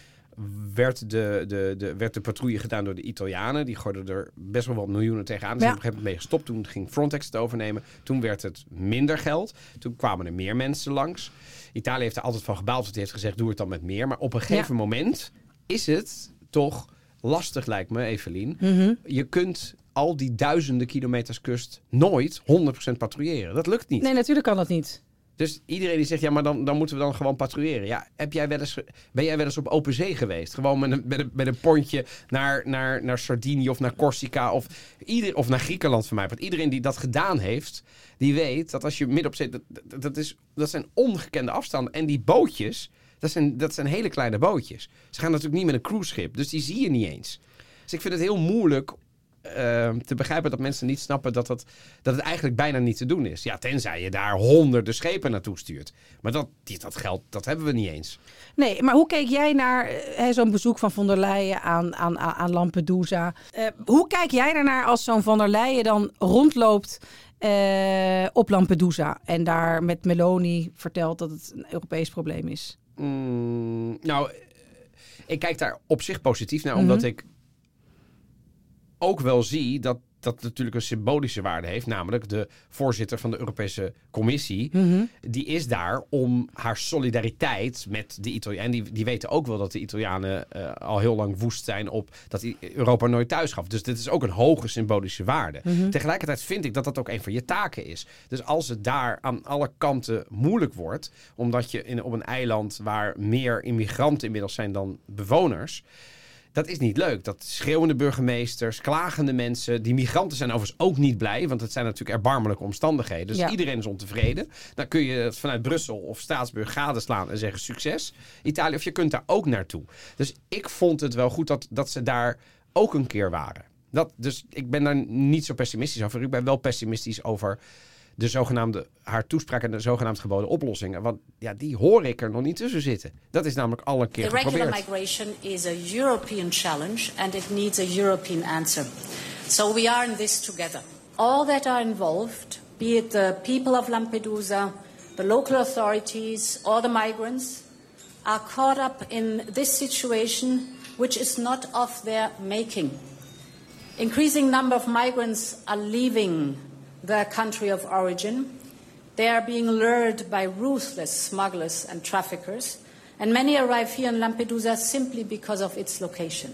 [SPEAKER 2] werd de, de, de, werd de patrouille gedaan door de Italianen. Die gooiden er best wel wat miljoenen tegenaan.
[SPEAKER 1] Ja.
[SPEAKER 2] Ze zijn op een gegeven moment mee gestopt. Toen ging Frontex het overnemen. Toen werd het minder geld. Toen kwamen er meer mensen langs. Italië heeft er altijd van gebaald. want Die heeft gezegd, doe het dan met meer. Maar op een gegeven moment is het toch lastig, lijkt me, Evelien. Je kunt al die duizenden kilometers kust nooit 100% patrouilleren. Dat lukt niet.
[SPEAKER 1] Nee, natuurlijk kan dat niet.
[SPEAKER 2] Dus iedereen die zegt, ja, maar dan, dan moeten we dan gewoon patrouilleren. Ja, heb jij wel eens, ge- ben jij wel eens op open zee geweest? Gewoon met een, met een, met een pontje naar, naar, naar Sardinië of naar Corsica of, ieder, of naar Griekenland van mij. Want iedereen die dat gedaan heeft, die weet dat als je midden op zee... Dat, dat, dat is, dat zijn ongekende afstanden. En die bootjes, dat zijn, dat zijn hele kleine bootjes. Ze gaan natuurlijk niet met een cruiseschip, dus die zie je niet eens. Dus ik vind het heel moeilijk eh, te begrijpen dat mensen niet snappen dat, dat, dat het eigenlijk bijna niet te doen is. Ja, tenzij je daar honderden schepen naartoe stuurt. Maar dat, die, dat geld, dat hebben we niet eens.
[SPEAKER 1] Nee, maar hoe keek jij naar eh, hè, zo'n bezoek van von der Leyen aan, aan, aan aan Lampedusa? Eh, hoe kijk jij daarnaar als zo'n van der Leyen dan rondloopt eh, op Lampedusa en daar met Meloni vertelt dat het een Europees probleem is?
[SPEAKER 2] Mm, nou, eh, ik kijk daar op zich positief naar, omdat ik ook wel zie dat dat natuurlijk een symbolische waarde heeft. Namelijk de voorzitter van de Europese Commissie. Die is daar om haar solidariteit met de Italianen. Die, die weten ook wel dat de Italianen eh, al heel lang woest zijn op dat I- Europa nooit thuis gaf. Dus dit is ook een hoge symbolische waarde. Tegelijkertijd vind ik dat dat ook een van je taken is. Dus als het daar aan alle kanten moeilijk wordt, omdat je in, op een eiland waar meer immigranten inmiddels zijn dan bewoners, dat is niet leuk. Dat schreeuwende burgemeesters, klagende mensen. Die migranten zijn overigens ook niet blij. Want het zijn natuurlijk erbarmelijke omstandigheden. Dus
[SPEAKER 1] Ja.
[SPEAKER 2] iedereen is ontevreden. Dan kun je het vanuit Brussel of Straatsburg gadeslaan en zeggen succes. Italië, of je kunt daar ook naartoe. Dus ik vond het wel goed dat, dat ze daar ook een keer waren. Dat, dus ik ben daar niet zo pessimistisch over. Ik ben wel pessimistisch over de zogenaamde, haar toespraak en de zogenaamd geboden oplossingen. Want ja, die hoor ik er nog niet tussen zitten. Dat is namelijk al een keer
[SPEAKER 6] Irregular
[SPEAKER 2] geprobeerd.
[SPEAKER 6] migration is a European challenge and it needs a European answer. So we are in this together. All that are involved, be it the people of Lampedusa, the local authorities, or the migrants, are caught up in this situation which is not of their making. Increasing number of migrants are leaving their country of origin. They are being lured by ruthless smugglers and traffickers, and many arrive here in Lampedusa simply because of its location.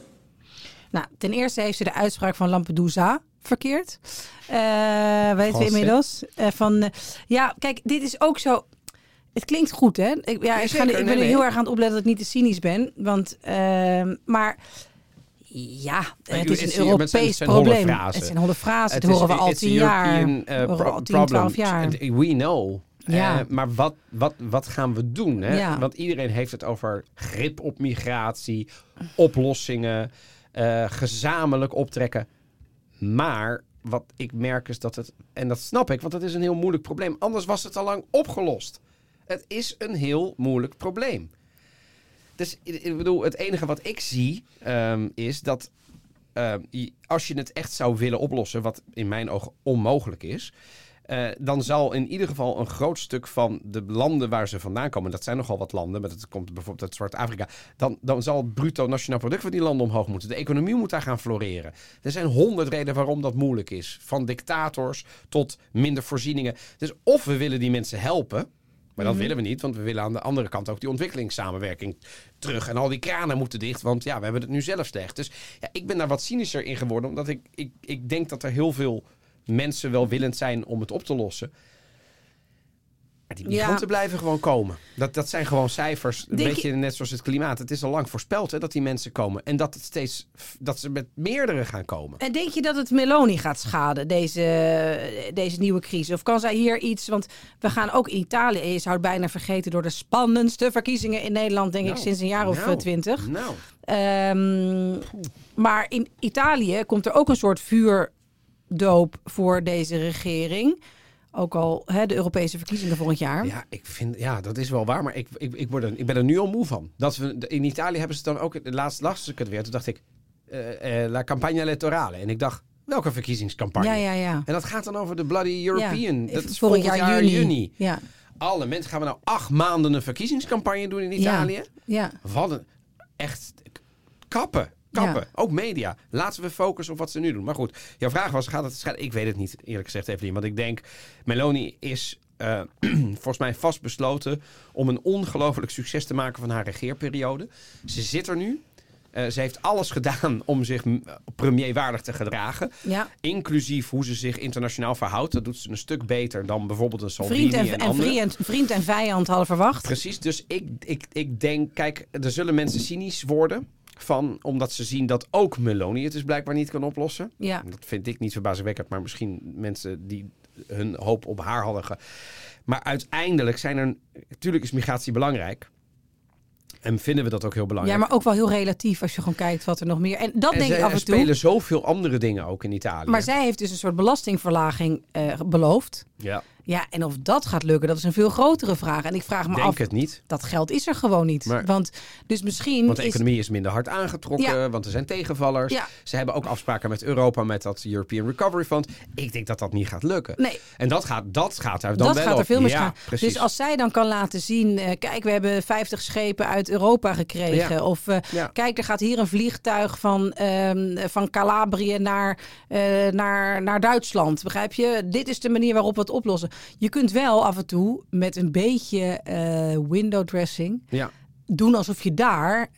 [SPEAKER 1] Nou, ten eerste heeft ze de uitspraak van Lampedusa verkeerd. Eh, weten we
[SPEAKER 2] Frans, hè?
[SPEAKER 1] inmiddels. Eh, van, eh, ja, kijk, dit is ook zo. Het klinkt goed, hè? Ik, ja,
[SPEAKER 2] Ja,
[SPEAKER 1] ik, ga,
[SPEAKER 2] zeker.
[SPEAKER 1] ik ben
[SPEAKER 2] Nee,
[SPEAKER 1] er
[SPEAKER 2] nee.
[SPEAKER 1] heel erg aan het opletten dat ik niet te cynisch ben. Want, ehm, maar ja, het
[SPEAKER 2] bedoel,
[SPEAKER 1] is een
[SPEAKER 2] het zijn- het zijn- het
[SPEAKER 1] Europees
[SPEAKER 2] zijn holle
[SPEAKER 1] probleem.
[SPEAKER 2] frasen.
[SPEAKER 1] Het zijn holle frazen.
[SPEAKER 2] Het
[SPEAKER 1] Dat horen we
[SPEAKER 2] is-
[SPEAKER 1] al
[SPEAKER 2] it's a
[SPEAKER 1] tien jaar.
[SPEAKER 2] European, eh,
[SPEAKER 1] Horen we
[SPEAKER 2] pro-
[SPEAKER 1] al tien,
[SPEAKER 2] problem.
[SPEAKER 1] twaalf jaar.
[SPEAKER 2] And We know.
[SPEAKER 1] Ja.
[SPEAKER 2] Eh, maar wat, wat, wat gaan we doen? Hè?
[SPEAKER 1] Ja.
[SPEAKER 2] Want iedereen heeft het over grip op migratie, oplossingen, eh, gezamenlijk optrekken. Maar wat ik merk is dat het, en dat snap ik, want het is een heel moeilijk probleem. Anders was het al lang opgelost. Het is een heel moeilijk probleem. Dus ik ik bedoel, het enige wat ik zie ehm, is dat eh, je- als je het echt zou willen oplossen, wat in mijn ogen onmogelijk is, eh, dan zal in ieder geval een groot stuk van de landen waar ze vandaan komen, dat zijn nogal wat landen, maar dat komt bijvoorbeeld uit Zwart-Afrika, dan, dan zal het bruto nationaal product van die landen omhoog moeten. De economie moet daar gaan floreren. Er zijn honderd redenen waarom dat moeilijk is. Van dictators tot minder voorzieningen. Dus of we willen die mensen helpen, maar
[SPEAKER 1] Mhm.
[SPEAKER 2] dat willen we niet, want we willen aan de andere kant ook die ontwikkelingssamenwerking terug. En al die kranen moeten dicht, want ja, we hebben het nu zelf slecht. Dus ja, ik ben daar wat cynischer in geworden, omdat ik, ik, ik denk dat er heel veel mensen wel willend zijn om het op te lossen. Maar die
[SPEAKER 1] Ja.
[SPEAKER 2] migranten blijven gewoon komen. Dat, dat zijn gewoon cijfers, een
[SPEAKER 1] Denk je-
[SPEAKER 2] beetje net zoals het klimaat. Het is al lang voorspeld hè, dat die mensen komen. En dat, het steeds, dat ze met meerdere gaan komen.
[SPEAKER 1] En denk je dat het Meloni gaat schaden, deze, deze nieuwe crisis? Of kan zij hier iets? Want we gaan ook in Italië, je zou het bijna vergeten, door de spannendste verkiezingen in Nederland, denk ik,
[SPEAKER 2] Nou,
[SPEAKER 1] sinds een jaar of eh,
[SPEAKER 2] nou,
[SPEAKER 1] twintig. Ehm,
[SPEAKER 2] Nou,
[SPEAKER 1] maar in Italië komt er ook een soort vuurdoop voor deze regering. Ook al hè, de Europese verkiezingen volgend jaar.
[SPEAKER 2] Ja, ik vind, ja, dat is wel waar, maar ik, ik, ik, word er, ik ben er nu al moe van. Dat we, in Italië hebben ze het dan ook, laatst las ik het weer, toen dacht ik, eh, eh, la campagna elettorale. En ik dacht, welke verkiezingscampagne?
[SPEAKER 1] Ja, ja, ja.
[SPEAKER 2] En dat gaat dan over de bloody European,
[SPEAKER 1] Ja,
[SPEAKER 2] dat
[SPEAKER 1] volgend
[SPEAKER 2] is volgend jaar, juni.
[SPEAKER 1] Ja.
[SPEAKER 2] Alle mensen, gaan we nou acht maanden een verkiezingscampagne doen in Italië?
[SPEAKER 1] Ja.
[SPEAKER 2] Wat een, echt, kappen. Kappen,
[SPEAKER 1] Ja.
[SPEAKER 2] ook media. Laten we focussen op wat ze nu doen. Maar goed, jouw vraag was, gaat het scheiden? Ik weet het niet, eerlijk gezegd, Evelien. Want ik denk, Meloni is eh, volgens mij vastbesloten om een ongelooflijk succes te maken van haar regeerperiode. Ze zit er nu. Eh, ze heeft alles gedaan om zich mm, premierwaardig te gedragen.
[SPEAKER 1] Ja.
[SPEAKER 2] Inclusief hoe ze zich internationaal verhoudt. Dat doet ze een stuk beter dan bijvoorbeeld een Salvini
[SPEAKER 1] Vriend en,
[SPEAKER 2] en,
[SPEAKER 1] en,
[SPEAKER 2] anderen.
[SPEAKER 1] vriend, vriend en vijand hadden verwacht.
[SPEAKER 2] Precies, dus ik, ik, ik denk, kijk, er zullen mensen cynisch worden. Van, omdat ze zien dat ook Meloni het dus blijkbaar niet kan oplossen.
[SPEAKER 1] Ja.
[SPEAKER 2] Dat vind ik niet verbazingwekkend, maar misschien mensen die hun hoop op haar hadden. Ge... Maar uiteindelijk zijn er. Natuurlijk is migratie belangrijk. En vinden we dat ook heel belangrijk.
[SPEAKER 1] Ja, maar ook wel heel relatief als je gewoon kijkt wat er nog meer. En dat
[SPEAKER 2] Oh, en
[SPEAKER 1] denk
[SPEAKER 2] zij-
[SPEAKER 1] ik af
[SPEAKER 2] er
[SPEAKER 1] en toe.
[SPEAKER 2] spelen zoveel andere dingen ook in Italië.
[SPEAKER 1] Maar zij heeft dus een soort belastingverlaging eh, beloofd.
[SPEAKER 2] ja,
[SPEAKER 1] Ja, en of dat gaat lukken, dat is een veel grotere vraag. En ik vraag me
[SPEAKER 2] denk
[SPEAKER 1] af,
[SPEAKER 2] het niet.
[SPEAKER 1] dat geld is er gewoon niet.
[SPEAKER 2] Maar-
[SPEAKER 1] want dus misschien
[SPEAKER 2] Want de
[SPEAKER 1] is...
[SPEAKER 2] economie is minder hard aangetrokken,
[SPEAKER 1] Ja.
[SPEAKER 2] want er zijn tegenvallers.
[SPEAKER 1] Ja.
[SPEAKER 2] Ze hebben ook afspraken met Europa met dat European Recovery Fund. Ik denk dat dat niet gaat lukken.
[SPEAKER 1] Nee.
[SPEAKER 2] En dat gaat, dat gaat daar dan
[SPEAKER 1] dat
[SPEAKER 2] wel
[SPEAKER 1] gaat er
[SPEAKER 2] op.
[SPEAKER 1] veel meer
[SPEAKER 2] ja,
[SPEAKER 1] gaan.
[SPEAKER 2] Precies.
[SPEAKER 1] Dus als zij dan kan laten zien, eh, kijk, we hebben 50 schepen uit Europa gekregen.
[SPEAKER 2] Ja.
[SPEAKER 1] Of eh,
[SPEAKER 2] Ja.
[SPEAKER 1] kijk, er gaat hier een vliegtuig van, ehm, van Calabrië naar, eh, naar, naar Duitsland. Begrijp je? Dit is de manier waarop we het oplossen. Je kunt wel af en toe met een beetje eh, window dressing
[SPEAKER 2] Ja.
[SPEAKER 1] doen alsof je daar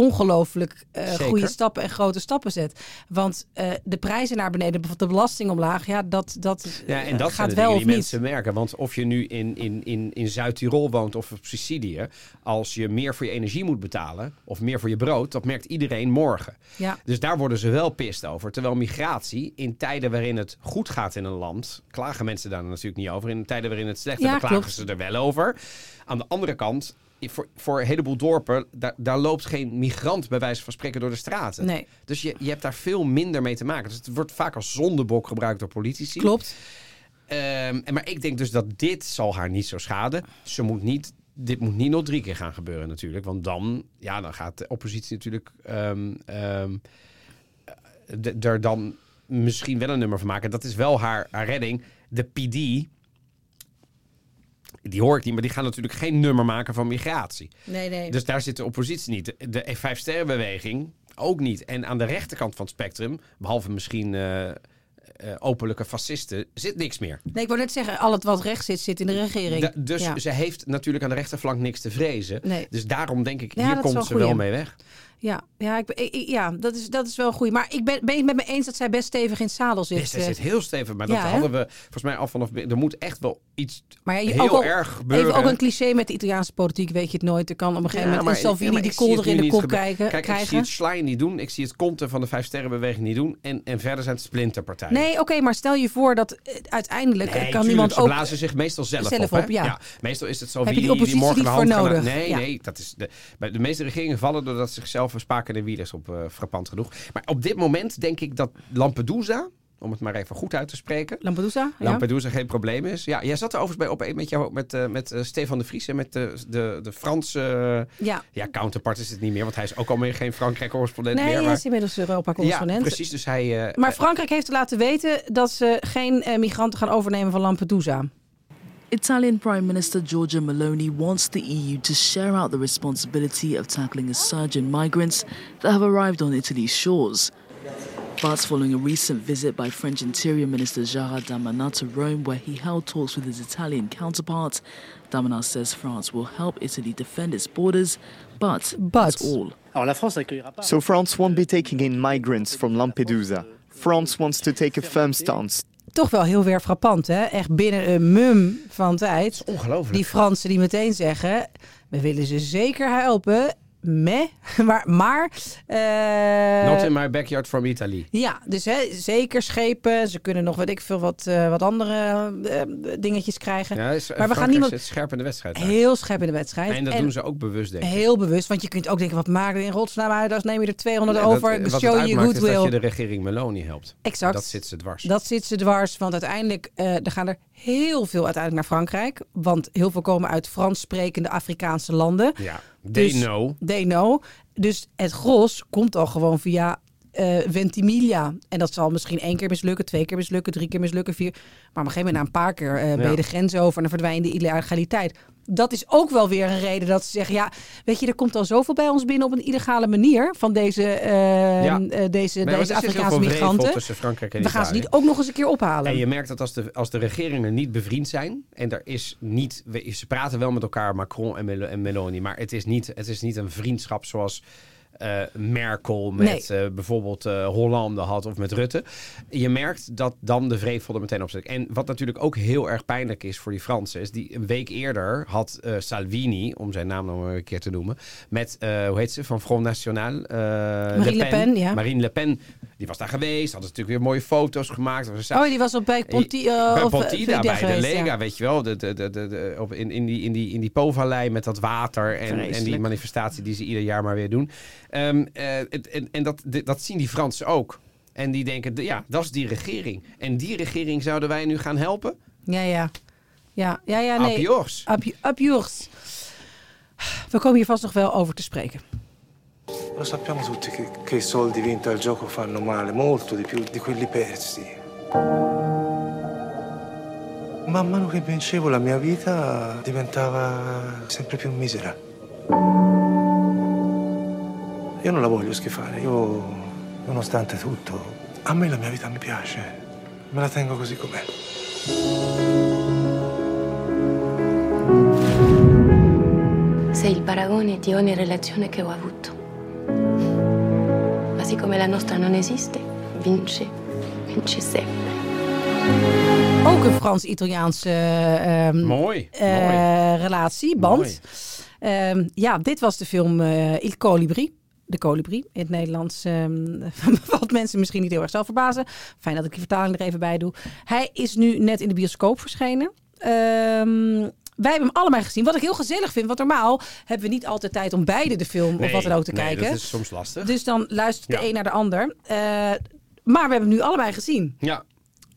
[SPEAKER 1] ongelooflijk eh,
[SPEAKER 2] Zeker.
[SPEAKER 1] goede stappen en grote stappen zet. Want eh, de prijzen naar beneden, bijvoorbeeld de belasting omlaag, ja, dat, dat,
[SPEAKER 2] Ja,
[SPEAKER 1] eh,
[SPEAKER 2] en dat
[SPEAKER 1] gaat
[SPEAKER 2] zijn de
[SPEAKER 1] wel
[SPEAKER 2] dingen
[SPEAKER 1] of
[SPEAKER 2] die
[SPEAKER 1] niet.
[SPEAKER 2] mensen merken. Want of je nu in, in, in, in Zuid-Tirol woont of op Sicilië... als je meer voor je energie moet betalen of meer voor je brood... dat merkt iedereen morgen.
[SPEAKER 1] Ja.
[SPEAKER 2] Dus daar worden ze wel pist over. Terwijl migratie, in tijden waarin het goed gaat in een land... klagen mensen daar natuurlijk niet over. In tijden waarin het slecht
[SPEAKER 1] Ja,
[SPEAKER 2] gaat, klagen
[SPEAKER 1] klopt.
[SPEAKER 2] ze er wel over. Aan de andere kant... Voor, voor een heleboel dorpen, daar, daar loopt geen migrant bij wijze van spreken door de straten.
[SPEAKER 1] Nee.
[SPEAKER 2] Dus je, je hebt daar veel minder mee te maken. Dus het wordt vaak als zondebok gebruikt door politici.
[SPEAKER 1] Klopt.
[SPEAKER 2] Ehm, en maar ik denk dus dat dit zal haar niet zo schaden. Ze moet niet, dit moet niet nog drie keer gaan gebeuren natuurlijk. Want dan, ja, dan gaat de oppositie natuurlijk ehm, ehm, eh, d- er dan misschien wel een nummer van maken. Dat is wel haar, haar redding. De PD, die hoor ik niet, maar die gaan natuurlijk geen nummer maken van migratie.
[SPEAKER 1] Nee, nee.
[SPEAKER 2] Dus daar zit de oppositie niet. De- De vijf sterrenbeweging ook niet. En aan de rechterkant van het spectrum, behalve misschien eh, eh, openlijke fascisten, zit niks meer.
[SPEAKER 1] Nee, ik wou net zeggen, al het wat rechts zit, zit in de regering.
[SPEAKER 2] Da- dus
[SPEAKER 1] ja.
[SPEAKER 2] ze heeft natuurlijk aan de rechterflank niks te vrezen.
[SPEAKER 1] Nee.
[SPEAKER 2] Dus daarom denk ik,
[SPEAKER 1] Ja,
[SPEAKER 2] hier
[SPEAKER 1] dat is wel
[SPEAKER 2] komt
[SPEAKER 1] een
[SPEAKER 2] ze
[SPEAKER 1] goeie.
[SPEAKER 2] wel mee weg.
[SPEAKER 1] Ja, ja, ik, ben- ik- ik- ja dat, is, dat is wel goed. Maar ik ben, ben je het met me eens dat zij best stevig in het zadel zit?
[SPEAKER 2] Dus ze
[SPEAKER 1] eh,
[SPEAKER 2] zit heel stevig, maar
[SPEAKER 1] ja,
[SPEAKER 2] dat
[SPEAKER 1] hè?
[SPEAKER 2] hadden we volgens mij al vanaf... Er moet echt wel iets
[SPEAKER 1] maar ja, je-
[SPEAKER 2] heel
[SPEAKER 1] ook al-
[SPEAKER 2] erg gebeuren.
[SPEAKER 1] Even ook een cliché met de Italiaanse politiek, weet je het nooit. Er kan op een gegeven
[SPEAKER 2] Ja,
[SPEAKER 1] moment
[SPEAKER 2] maar-
[SPEAKER 1] een Salvini
[SPEAKER 2] ja, maar
[SPEAKER 1] die
[SPEAKER 2] ik zie het
[SPEAKER 1] kolder in
[SPEAKER 2] nu
[SPEAKER 1] de
[SPEAKER 2] niet
[SPEAKER 1] kop
[SPEAKER 2] gebeuren.
[SPEAKER 1] krijgen.
[SPEAKER 2] Kijk, ik zie
[SPEAKER 1] krijgen.
[SPEAKER 2] het Schlein niet doen. Ik zie het Conte van de Vijf Sterrenbeweging niet doen. En, en verder zijn het splinterpartijen.
[SPEAKER 1] Nee, oké, maar stel je voor dat eh, uiteindelijk eh,
[SPEAKER 2] Nee,
[SPEAKER 1] kan
[SPEAKER 2] tuurlijk,
[SPEAKER 1] iemand
[SPEAKER 2] ze
[SPEAKER 1] ook...
[SPEAKER 2] blazen zich meestal zelf,
[SPEAKER 1] zelf
[SPEAKER 2] op.
[SPEAKER 1] op,
[SPEAKER 2] hè?
[SPEAKER 1] ja.
[SPEAKER 2] Meestal is het zo
[SPEAKER 1] Heb je
[SPEAKER 2] wie
[SPEAKER 1] die oppositie
[SPEAKER 2] morgen de
[SPEAKER 1] niet
[SPEAKER 2] hand
[SPEAKER 1] voor
[SPEAKER 2] gaan-
[SPEAKER 1] nodig?
[SPEAKER 2] Nee,
[SPEAKER 1] Ja.
[SPEAKER 2] nee. Dat is de, bij de meeste regeringen vallen doordat ze zichzelf een spaak in de wiel is op eh, frappant genoeg. Maar op dit moment denk ik dat Lampedusa, om het maar even goed uit te spreken.
[SPEAKER 1] Lampedusa? ja.
[SPEAKER 2] Lampedusa geen probleem is. Ja, jij zat er overigens bij op één met, jou, met, eh, met eh, Stefan de Vries en met de, de, de Franse... eh,
[SPEAKER 1] Ja.
[SPEAKER 2] ja, counterpart is het niet meer, want hij is ook al meer geen Frankrijk-correspondent
[SPEAKER 1] Nee,
[SPEAKER 2] meer.
[SPEAKER 1] hij
[SPEAKER 2] maar-
[SPEAKER 1] is inmiddels
[SPEAKER 2] ja,
[SPEAKER 1] Europa-correspondent.
[SPEAKER 2] precies. Dus hij... eh,
[SPEAKER 1] Maar Frankrijk heeft laten weten dat ze geen eh, migranten gaan overnemen van Lampedusa.
[SPEAKER 7] Italian Prime Minister Giorgia Meloni wants the EU to share out the responsibility of tackling a surge in migrants that have arrived on Italy's shores. But following a recent visit by French Interior Minister Gerard Damanin to Rome, where he held talks with his Italian counterpart, Damanin says France will help Italy defend its borders, but,
[SPEAKER 1] But.
[SPEAKER 7] that's all.
[SPEAKER 8] So France won't be taking in migrants from Lampedusa. France wants to take a firm stance.
[SPEAKER 1] toch wel heel weer frappant, hè? Echt binnen een mum van tijd.
[SPEAKER 2] ongelooflijk.
[SPEAKER 1] Die Fransen die meteen zeggen: we willen ze zeker helpen. Meh, maar. maar eh,
[SPEAKER 2] Not in my backyard from Italy.
[SPEAKER 1] ja, dus hè, zeker schepen. Ze kunnen nog, weet ik veel, wat, eh, wat andere eh, dingetjes krijgen.
[SPEAKER 2] Ja, is,
[SPEAKER 1] maar we gaan niemand
[SPEAKER 2] Het scherp in de wedstrijd. daar.
[SPEAKER 1] heel scherp in de wedstrijd.
[SPEAKER 2] En dat doen ze ook bewust, denk ik.
[SPEAKER 1] Heel bewust, want je kunt ook denken: wat maakt er in rotsnaam uit? Als neem je er 200
[SPEAKER 2] Ja, dat-
[SPEAKER 1] over.
[SPEAKER 2] wat het
[SPEAKER 1] show je
[SPEAKER 2] uitmaakt is
[SPEAKER 1] goodwill.
[SPEAKER 2] dat je de regering Meloni helpt.
[SPEAKER 1] Exact.
[SPEAKER 2] Dat zit ze dwars.
[SPEAKER 1] Dat zit ze dwars, want uiteindelijk eh, er gaan er heel veel uiteindelijk naar Frankrijk. Want heel veel komen uit Frans sprekende Afrikaanse landen.
[SPEAKER 2] Ja, they
[SPEAKER 1] Dus-
[SPEAKER 2] know.
[SPEAKER 1] They know. Dus het gros komt al gewoon via eh, Ventimiglia. En dat zal misschien één keer mislukken, twee keer mislukken, drie keer mislukken, vier. Maar op een gegeven moment na een paar keer eh, ben
[SPEAKER 2] Ja.
[SPEAKER 1] je de grens over en dan verdwijnt de illegaliteit. Dat is ook wel weer een reden dat ze zeggen: ja, weet je, er komt al zoveel bij ons binnen op een illegale manier van deze, eh,
[SPEAKER 2] Ja.
[SPEAKER 1] eh, deze,
[SPEAKER 2] Nee,
[SPEAKER 1] deze
[SPEAKER 2] want er zit heel
[SPEAKER 1] Afrikaanse
[SPEAKER 2] veel wrevel
[SPEAKER 1] migranten.
[SPEAKER 2] tussen Frankrijk en
[SPEAKER 1] We gaan ze
[SPEAKER 2] Italië.
[SPEAKER 1] niet ook nog eens een keer ophalen.
[SPEAKER 2] En je merkt dat als de, als de regeringen niet bevriend zijn. En er is niet. we- Ze praten wel met elkaar, Macron en, Mel- en Meloni. Maar het is niet, het is niet een vriendschap zoals. eh, eh, Merkel met eh, bijvoorbeeld eh, Hollande had of met Rutte. Je merkt dat dan de vrevel er meteen op zit. En wat natuurlijk ook heel erg pijnlijk is voor die Fransen, is die een week eerder had eh, Salvini, om zijn naam nog maar een keer te noemen, met, eh, hoe heet ze, van Front National, eh,
[SPEAKER 1] Marine Le Pen, ja.
[SPEAKER 2] Marine Le Pen, die was daar geweest, had natuurlijk weer mooie foto's gemaakt. Er was een
[SPEAKER 1] Oh, die was op bij Ponti, eh,
[SPEAKER 2] bij
[SPEAKER 1] of,
[SPEAKER 2] Ponti
[SPEAKER 1] eh,
[SPEAKER 2] daar, bij
[SPEAKER 1] geweest,
[SPEAKER 2] de Lega,
[SPEAKER 1] ja.
[SPEAKER 2] weet je wel. De, de, de, de- de- op, in, in die, in die, in die Po-vallei met dat water en, en die
[SPEAKER 8] Vreselijk.
[SPEAKER 2] manifestatie die ze ieder jaar maar weer doen. Ehm, eh, het- en en dat, dit- dat zien die Fransen ook. En die denken, d- ja, dat is die regering. En die regering zouden wij nu gaan helpen?
[SPEAKER 1] Ja, ja. Ja, ja, ja,
[SPEAKER 2] Nee.
[SPEAKER 1] nee. Ab- Abjurs. We komen hier vast nog wel over te spreken.
[SPEAKER 9] Lo sappiamo tutti che, che i soldi vinti al gioco fanno male, molto di più di quelli persi. Man mano che vincevo la mia vita diventava sempre più misera. Io non la voglio schifare, io nonostante tutto, a me la mia vita mi piace, me la tengo così com'è.
[SPEAKER 10] Sei il paragone di ogni relazione che ho avuto. Ma siccome la nostra non esiste, vinci, vinci sempre.
[SPEAKER 1] Ook een Frans-Italiaanse eh, ehm,
[SPEAKER 2] Mooi.
[SPEAKER 1] eh,
[SPEAKER 2] mooi.
[SPEAKER 1] relatie, band.
[SPEAKER 2] Mooi.
[SPEAKER 1] Ehm, ja, dit was de film eh, Il Colibri. De Colibri in het Nederlands. ehm, wat mensen misschien niet heel erg zal verbazen. Fijn dat ik die vertaling er even bij doe. Hij is nu net in de bioscoop verschenen. Ehm, wij hebben hem allemaal gezien. Wat ik heel gezellig vind. Want normaal hebben we niet altijd tijd om beide de film of
[SPEAKER 2] Nee,
[SPEAKER 1] wat dan ook te
[SPEAKER 2] nee,
[SPEAKER 1] kijken.
[SPEAKER 2] dat is soms lastig.
[SPEAKER 1] Dus dan luistert de
[SPEAKER 2] Ja.
[SPEAKER 1] een naar de ander. Eh, maar we hebben hem nu allebei gezien.
[SPEAKER 2] Ja,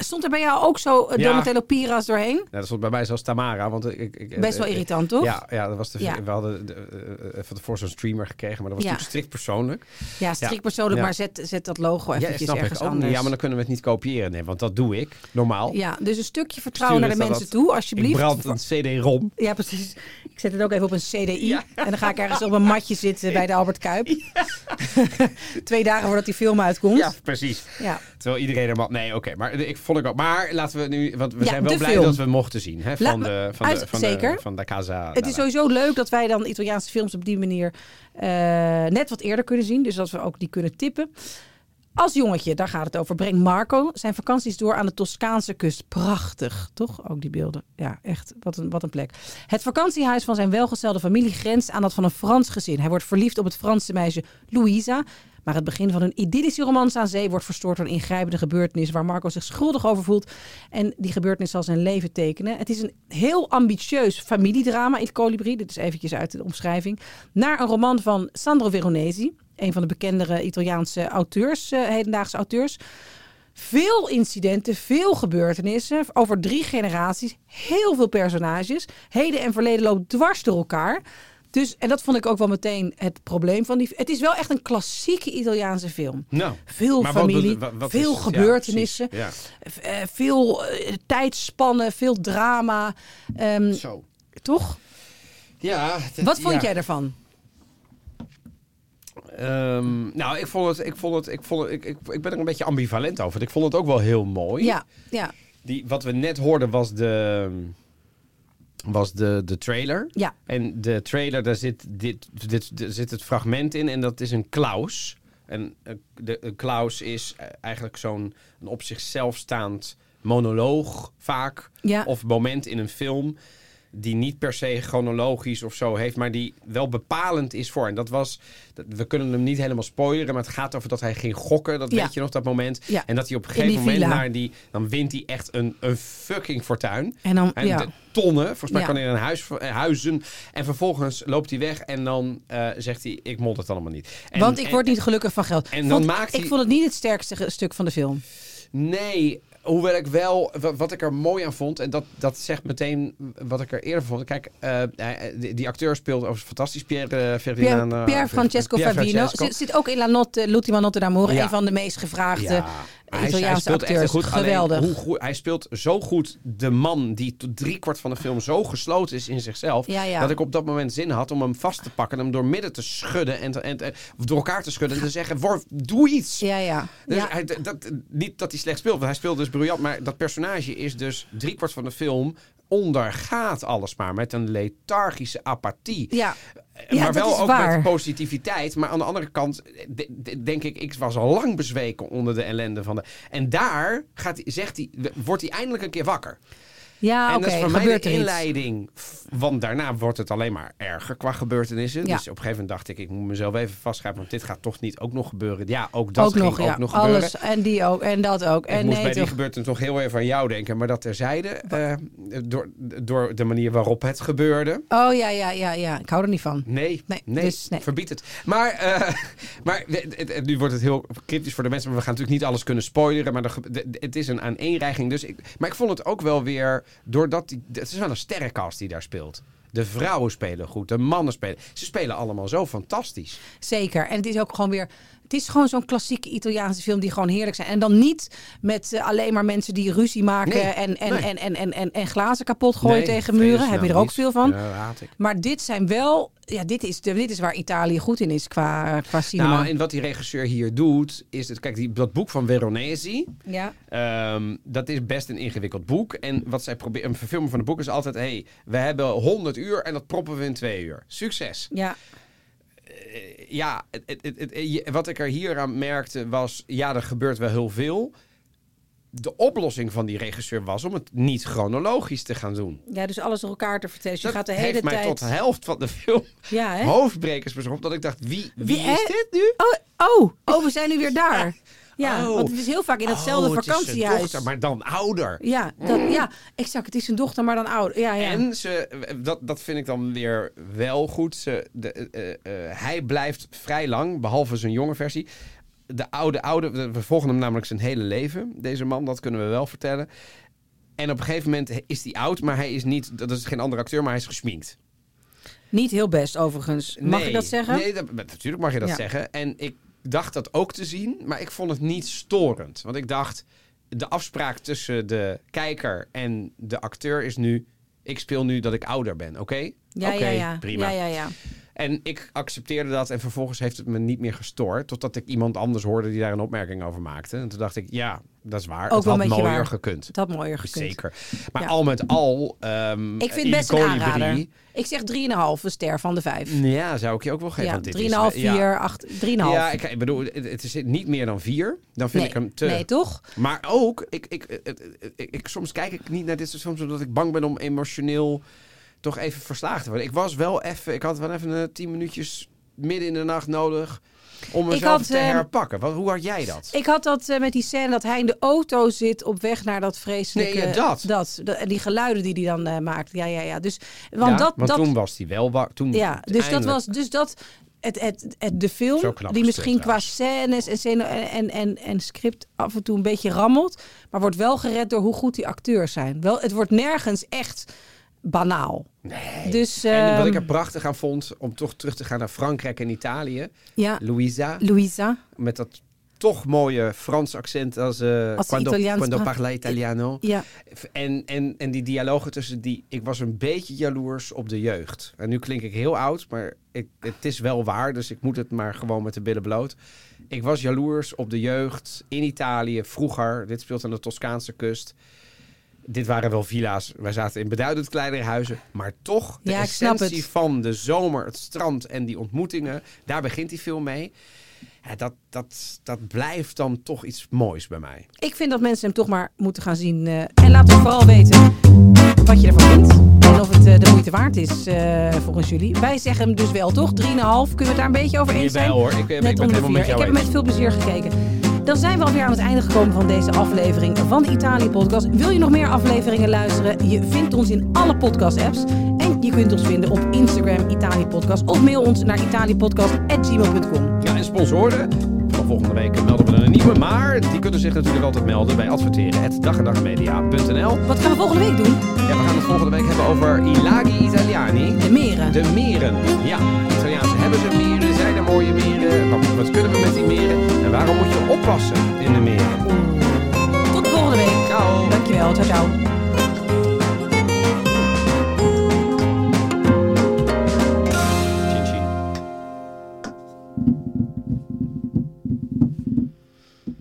[SPEAKER 1] Stond er bij jou ook zo eh,
[SPEAKER 2] Ja.
[SPEAKER 1] Donatello Piras doorheen?
[SPEAKER 2] Nou, dat stond bij mij zelfs Tamara. Want ik, ik,
[SPEAKER 1] Best wel
[SPEAKER 2] ik-
[SPEAKER 1] irritant, toch?
[SPEAKER 2] Ja, ja, dat was de,
[SPEAKER 1] Ja.
[SPEAKER 2] we hadden de, eh, eh, van tevoren zo'n streamer gekregen. Maar dat was
[SPEAKER 1] Ja.
[SPEAKER 2] natuurlijk strikt persoonlijk.
[SPEAKER 1] Ja, strikt persoonlijk,
[SPEAKER 2] Ja.
[SPEAKER 1] maar zet, zet dat logo
[SPEAKER 2] Ja,
[SPEAKER 1] eventjes
[SPEAKER 2] snap ik
[SPEAKER 1] ergens
[SPEAKER 2] ook niet.
[SPEAKER 1] anders.
[SPEAKER 2] Ja, maar dan kunnen we het niet kopiëren. Nee, want dat doe ik normaal.
[SPEAKER 1] Ja, dus een stukje vertrouwen naar
[SPEAKER 2] Sturen
[SPEAKER 1] de
[SPEAKER 2] is dat
[SPEAKER 1] mensen
[SPEAKER 2] dat.
[SPEAKER 1] toe, alsjeblieft.
[SPEAKER 2] Ik brand een CD-ROM.
[SPEAKER 1] Ja, precies. Ik zet het ook even op een CDI.
[SPEAKER 2] Ja.
[SPEAKER 1] En dan ga ik ergens op een matje zitten bij de Albert Kuip. Twee dagen voordat die film uitkomt.
[SPEAKER 2] Ja, Nou, precies.
[SPEAKER 1] Ja.
[SPEAKER 2] Terwijl iedereen er maar... Nee, oké. maar ik vond ik ook... Maar laten we nu... Want we
[SPEAKER 1] Ja,
[SPEAKER 2] zijn wel
[SPEAKER 1] de
[SPEAKER 2] blij
[SPEAKER 1] film.
[SPEAKER 2] dat we hem mochten zien. Hè,
[SPEAKER 1] Laat
[SPEAKER 2] van,
[SPEAKER 1] me-
[SPEAKER 2] de, van,
[SPEAKER 1] uit-
[SPEAKER 2] de, van,
[SPEAKER 1] zeker.
[SPEAKER 2] De, van de Casa...
[SPEAKER 1] Het is sowieso leuk dat wij dan Italiaanse films op die manier eh, net wat eerder kunnen zien. Dus dat we ook die kunnen tippen. Als jongetje, daar gaat het over, brengt Marco zijn vakanties door aan de Toscaanse kust. Prachtig, toch? Ook die beelden. Ja, echt. Wat een, wat een plek. Het vakantiehuis van zijn welgestelde familie grenst aan dat van een Frans gezin. Hij wordt verliefd op het Franse meisje Louisa. Maar het begin van hun idyllische romance aan zee wordt verstoord door een ingrijpende gebeurtenis waar Marco zich schuldig over voelt. En die gebeurtenis zal zijn leven tekenen. Het is een heel ambitieus familiedrama in Colibri. Dit is eventjes uit de omschrijving. Naar een roman van Sandro Veronesi. Een van de bekendere Italiaanse auteurs, eh, hedendaagse auteurs. Veel incidenten, veel gebeurtenissen. Over drie generaties. Heel veel personages. Heden en verleden loopt dwars door elkaar. Dus, en dat vond ik ook wel meteen het probleem van die. Het is wel echt een klassieke Italiaanse film.
[SPEAKER 2] Nou,
[SPEAKER 1] Veel
[SPEAKER 2] maar wat
[SPEAKER 1] familie,
[SPEAKER 2] bedo- wa- wat
[SPEAKER 1] veel
[SPEAKER 2] is- ja,
[SPEAKER 1] gebeurtenissen,
[SPEAKER 2] precies.
[SPEAKER 1] eh, veel eh, tijdspannen, veel drama. Ehm,
[SPEAKER 2] Zo.
[SPEAKER 1] toch?
[SPEAKER 2] Ja. dat-
[SPEAKER 1] Wat vond
[SPEAKER 2] ja.
[SPEAKER 1] jij daarvan?
[SPEAKER 2] Ehm, nou, ik vond het... Ik, vond het, ik, vond het ik, ik, ik ben er een beetje ambivalent over. Ik vond het ook wel heel mooi.
[SPEAKER 1] Ja, ja,
[SPEAKER 2] Die, wat we net hoorden was de, was de, de trailer.
[SPEAKER 1] Ja.
[SPEAKER 2] En de trailer, daar zit, dit, dit, er zit het fragment in en dat is een klaus. En eh, de, een klaus is eh, eigenlijk zo'n een op zichzelf staand monoloog vaak.
[SPEAKER 1] Ja.
[SPEAKER 2] Of moment in een film die niet per se chronologisch of zo heeft, maar die wel bepalend is voor. En dat was, dat- we kunnen hem niet helemaal spoileren, maar het gaat over dat hij ging gokken. Dat
[SPEAKER 1] Ja.
[SPEAKER 2] weet je nog, dat moment.
[SPEAKER 1] Ja.
[SPEAKER 2] En dat hij op een
[SPEAKER 1] In die
[SPEAKER 2] gegeven moment
[SPEAKER 1] villa.
[SPEAKER 2] naar en die, dan wint hij echt een, een fucking fortuin.
[SPEAKER 1] En dan-
[SPEAKER 2] en
[SPEAKER 1] ja.
[SPEAKER 2] de tonnen. Volgens mij
[SPEAKER 1] Ja.
[SPEAKER 2] kan hij in een huis, eh, huizen. En vervolgens loopt hij weg en dan eh, zegt hij, ik mond het allemaal niet. En-
[SPEAKER 1] Want ik
[SPEAKER 2] en-
[SPEAKER 1] word niet gelukkig van geld.
[SPEAKER 2] en dan
[SPEAKER 1] Vond-
[SPEAKER 2] maakt
[SPEAKER 1] Ik
[SPEAKER 2] hij-
[SPEAKER 1] vond het niet het sterkste ge- stuk van de film.
[SPEAKER 2] Nee, hoewel ik wel... wa- Wat ik er mooi aan vond, en dat, dat zegt meteen wat ik er eerder vond. Kijk, eh, hij- die, die acteur speelt overigens fantastisch. Pierre eh,
[SPEAKER 1] Pier,
[SPEAKER 2] Ferdinand... eh,
[SPEAKER 1] Pier Francesco
[SPEAKER 2] Pier
[SPEAKER 1] Favino
[SPEAKER 2] Francesco.
[SPEAKER 1] zit, zit ook in La Notte, L'ultima Notte d'Amore.
[SPEAKER 2] Ja.
[SPEAKER 1] Een van de meest gevraagde
[SPEAKER 2] Hij-
[SPEAKER 1] Italiaanse
[SPEAKER 2] hij speelt echt
[SPEAKER 1] acteurs.
[SPEAKER 2] goed. Alleen,
[SPEAKER 1] Geweldig.
[SPEAKER 2] hoe goed, hij speelt zo goed de man die tot driekwart van de film zo gesloten is in zichzelf.
[SPEAKER 1] Ja, ja.
[SPEAKER 2] Dat ik op dat moment zin had om hem vast te pakken. en Hem door midden te schudden. En, te- en, en- of door elkaar te schudden. En te zeggen, Worf, doe iets.
[SPEAKER 1] Ja, ja.
[SPEAKER 2] Dus
[SPEAKER 1] ja.
[SPEAKER 2] hij- dat, niet dat hij slecht speelt. Want hij speelt dus briljant. Maar dat personage is dus driekwart van de film ondergaat alles maar met een lethargische apathie.
[SPEAKER 1] Ja.
[SPEAKER 2] Eh,
[SPEAKER 1] Ja,
[SPEAKER 2] maar
[SPEAKER 1] dat
[SPEAKER 2] wel
[SPEAKER 1] is
[SPEAKER 2] ook
[SPEAKER 1] waar.
[SPEAKER 2] met positiviteit. Maar aan de andere kant eh, de- de- denk ik, ik was al lang bezweken onder de ellende van de. En daar gaat, hij- zegt hij, wordt hij eindelijk een keer wakker.
[SPEAKER 1] Ja,
[SPEAKER 2] en
[SPEAKER 1] Ah, oké,
[SPEAKER 2] dat is voor mij
[SPEAKER 1] gebeurt
[SPEAKER 2] de
[SPEAKER 1] er iets.
[SPEAKER 2] inleiding. f- Want daarna wordt het alleen maar erger qua gebeurtenissen.
[SPEAKER 1] Ja.
[SPEAKER 2] Dus op een gegeven moment dacht ik, ik moet mezelf even vastgrijpen. Want dit gaat toch niet ook nog gebeuren. Ja, ook dat
[SPEAKER 1] ook
[SPEAKER 2] ging
[SPEAKER 1] nog,
[SPEAKER 2] ook
[SPEAKER 1] ja.
[SPEAKER 2] nog gebeuren.
[SPEAKER 1] Alles en die ook en dat ook.
[SPEAKER 2] Ik
[SPEAKER 1] En
[SPEAKER 2] moest
[SPEAKER 1] nee,
[SPEAKER 2] bij die
[SPEAKER 1] toch.
[SPEAKER 2] gebeurtenis nog heel even aan jou denken. Maar dat terzijde, eh door, door de manier waarop het gebeurde.
[SPEAKER 1] Oh ja, ja, ja, ja. Ik hou er niet van.
[SPEAKER 2] Nee, nee,
[SPEAKER 1] dus nee.
[SPEAKER 2] verbied het. Maar, eh, maar we- het- het- nu wordt het heel cryptisch voor de mensen. Maar we gaan natuurlijk niet alles kunnen spoileren. Maar er gebe- de- de- het is een aaneenreiging. Dus ik, maar ik vond het ook wel weer... Doordat die, het is wel een sterrenkast die daar speelt. De vrouwen spelen goed. De mannen spelen. Ze spelen allemaal zo fantastisch.
[SPEAKER 1] Zeker. En het is ook gewoon weer. Het is gewoon zo'n klassieke Italiaanse film die gewoon heerlijk zijn. En dan niet met eh, alleen maar mensen die ruzie maken
[SPEAKER 2] Nee,
[SPEAKER 1] en, en,
[SPEAKER 2] nee.
[SPEAKER 1] en, en, en, en, en glazen kapot gooien
[SPEAKER 2] Nee,
[SPEAKER 1] tegen muren. Heb je er
[SPEAKER 2] vredesnaam
[SPEAKER 1] ook
[SPEAKER 2] niet.
[SPEAKER 1] veel van.
[SPEAKER 2] Ja, haat ik.
[SPEAKER 1] Maar dit zijn wel. Ja, dit is, de- dit is waar Italië goed in is qua, qua cinema.
[SPEAKER 2] Nou, en wat die regisseur hier doet, is dat... Kijk, die, dat boek van Veronesi...
[SPEAKER 1] Ja.
[SPEAKER 2] Ehm, dat is best een ingewikkeld boek. En wat zij proberen, een verfilming van het boek is altijd: hé, hey, we hebben 100 uur en dat proppen we in twee uur. Succes.
[SPEAKER 1] Ja.
[SPEAKER 2] Ja, het, het, het- het- je- wat ik er hier aan merkte was: ja, er gebeurt wel heel veel. De oplossing van die regisseur was om het niet chronologisch te gaan doen.
[SPEAKER 1] ja, dus alles door elkaar te vertellen. Dus je
[SPEAKER 2] dat
[SPEAKER 1] gaat de
[SPEAKER 2] heeft
[SPEAKER 1] hele
[SPEAKER 2] mij
[SPEAKER 1] tijd.
[SPEAKER 2] tot de helft van de film
[SPEAKER 1] Ja, hè?
[SPEAKER 2] hoofdbrekers bezorgd. Dat ik dacht, wie, wie,
[SPEAKER 1] Wie-
[SPEAKER 2] is
[SPEAKER 1] hè?
[SPEAKER 2] dit nu?
[SPEAKER 1] Oh, oh, oh, we zijn nu weer daar. Ja,
[SPEAKER 2] Oh.
[SPEAKER 1] want het is heel vaak in datzelfde
[SPEAKER 2] Oh, het is zijn
[SPEAKER 1] vakantiehuis.
[SPEAKER 2] dochter, maar dan ouder.
[SPEAKER 1] Ja, dat, ja, exact. Het is een dochter, maar dan oud. Ja, ja.
[SPEAKER 2] En ze, dat, dat vind ik dan weer wel goed. Ze, de, eh, eh, eh, hij blijft vrij lang, behalve zijn jonge versie. De oude, oude, we- we volgen hem namelijk zijn hele leven, deze man, dat kunnen we wel vertellen. En op een gegeven moment is hij oud, maar hij is niet, dat is geen andere acteur, maar hij is gesminkt.
[SPEAKER 1] Niet heel best, overigens. Dus Mag
[SPEAKER 2] Nee.
[SPEAKER 1] ik dat zeggen?
[SPEAKER 2] Nee, dat- maar natuurlijk mag je dat
[SPEAKER 1] Ja.
[SPEAKER 2] zeggen. En ik dacht dat ook te zien, maar ik vond het niet storend. Want ik dacht, de afspraak tussen de kijker en de acteur is nu... Ik speel nu dat ik ouder ben, oké?
[SPEAKER 1] Ja,
[SPEAKER 2] Oké,
[SPEAKER 1] ja, ja.
[SPEAKER 2] prima.
[SPEAKER 1] Ja, ja, ja.
[SPEAKER 2] En ik accepteerde dat en vervolgens heeft het me niet meer gestoord. Totdat ik iemand anders hoorde die daar een opmerking over maakte. En toen dacht ik, ja, dat is waar.
[SPEAKER 1] Ook
[SPEAKER 2] het
[SPEAKER 1] wel
[SPEAKER 2] had
[SPEAKER 1] een beetje
[SPEAKER 2] mooier
[SPEAKER 1] waar.
[SPEAKER 2] gekund.
[SPEAKER 1] Het had mooier gekund.
[SPEAKER 2] Zeker. Maar
[SPEAKER 1] Ja.
[SPEAKER 2] al met al... ehm,
[SPEAKER 1] Ik vind
[SPEAKER 2] in
[SPEAKER 1] het best een
[SPEAKER 2] Colibri-
[SPEAKER 1] aanrader. Ik zeg 3,5 een ster van de 5.
[SPEAKER 2] Ja, zou ik je ook wel geven.
[SPEAKER 1] Ja,
[SPEAKER 2] want dit is-
[SPEAKER 1] 3,5,
[SPEAKER 2] ja.
[SPEAKER 1] 4, 8, 3,5.
[SPEAKER 2] Ja, ik, ik bedoel, het, het is niet meer dan vier. Dan vind
[SPEAKER 1] nee.
[SPEAKER 2] ik hem te.
[SPEAKER 1] nee, toch?
[SPEAKER 2] Maar ook, ik, ik, het- het- ik, ik- soms kijk ik niet naar dit soort films omdat ik bang ben om emotioneel toch even verslagen te worden. Ik was wel even, ik had wel even eh, tien minuutjes midden in de nacht nodig om
[SPEAKER 1] Ik
[SPEAKER 2] mezelf
[SPEAKER 1] had,
[SPEAKER 2] te
[SPEAKER 1] ehm,
[SPEAKER 2] herpakken. Wat, hoe had jij dat?
[SPEAKER 1] Ik had dat eh, met die scène dat hij in de auto zit op weg naar dat vreselijke...
[SPEAKER 2] Nee, ja, dat.
[SPEAKER 1] dat, dat- en die geluiden die hij dan eh, maakt. Ja, ja, ja. Dus, want
[SPEAKER 2] Ja,
[SPEAKER 1] dat,
[SPEAKER 2] want
[SPEAKER 1] dat,
[SPEAKER 2] toen was hij wel wa- toen
[SPEAKER 1] Ja, dus dat
[SPEAKER 2] eindelijk-
[SPEAKER 1] was dus dat het, het, het, de
[SPEAKER 2] Zo
[SPEAKER 1] film
[SPEAKER 2] knap
[SPEAKER 1] die
[SPEAKER 2] gestuurd
[SPEAKER 1] misschien qua
[SPEAKER 2] trouwens.
[SPEAKER 1] scènes en, scène- en, en, en script af en toe een beetje rammelt, maar wordt wel gered door hoe goed die acteurs zijn. Wel, het wordt nergens echt banaal. Nee. Dus
[SPEAKER 2] En wat
[SPEAKER 1] ehm,
[SPEAKER 2] ik er prachtig aan vond, om toch terug te gaan naar Frankrijk en Italië.
[SPEAKER 1] ja,
[SPEAKER 2] Louisa.
[SPEAKER 1] Luisa.
[SPEAKER 2] met dat toch mooie Frans accent als, eh
[SPEAKER 1] Als ze
[SPEAKER 2] quando,
[SPEAKER 1] Italiaans
[SPEAKER 2] quando
[SPEAKER 1] praat-
[SPEAKER 2] parla italiano.
[SPEAKER 1] Ja.
[SPEAKER 2] En, en, en die dialogen tussen die... Ik was een beetje jaloers op de jeugd. En nu klink ik heel oud, maar ik, het is wel waar. Dus ik moet het maar gewoon met de billen bloot. Ik was jaloers op de jeugd in Italië vroeger. Dit speelt aan de Toscaanse kust. Dit waren wel villa's. Wij zaten in beduidend kleinere huizen. Maar toch, de
[SPEAKER 1] Ja, ik snap het.
[SPEAKER 2] essentie van de zomer, het strand en die ontmoetingen. Daar begint die film mee. Ja, dat, dat, dat blijft dan toch iets moois bij mij.
[SPEAKER 1] Ik vind dat mensen hem toch maar moeten gaan zien. eh, en laat ons vooral weten wat je ervan vindt. En of het eh, de moeite waard is eh, volgens jullie. Wij zeggen hem dus wel, toch? 3,5. Kunnen we het daar een beetje over eens zijn?
[SPEAKER 2] Jawel, hoor. Ik, eh, ik ben het
[SPEAKER 1] Net om de
[SPEAKER 2] helemaal
[SPEAKER 1] vier. Ik
[SPEAKER 2] met jou
[SPEAKER 1] heb hem
[SPEAKER 2] eens.
[SPEAKER 1] met veel plezier gekeken. Dan zijn we alweer aan het einde gekomen van deze aflevering van de Italië Podcast. Wil je nog meer afleveringen luisteren? Je vindt ons in alle podcast-apps. En je kunt ons vinden op Instagram Italië Podcast. Of mail ons naar italiëpodcast.gmail.com.
[SPEAKER 2] Ja, en sponsoren. Van volgende week melden we er een nieuwe. Maar die kunnen zich natuurlijk altijd melden bij adverteren.dagendagmedia.nl.
[SPEAKER 1] Wat gaan we volgende week doen?
[SPEAKER 2] Ja, we gaan het volgende week hebben over I Laghi Italiani.
[SPEAKER 1] De meren.
[SPEAKER 2] De meren. Ja, Italiaanse hebben ze meren, zijn er mooie meren. Wat, wat kunnen we met die meren? En waarom moet je oppassen in de meren?
[SPEAKER 1] Tot volgende week.
[SPEAKER 2] Ciao.
[SPEAKER 1] Dankjewel. Ciao, ciao.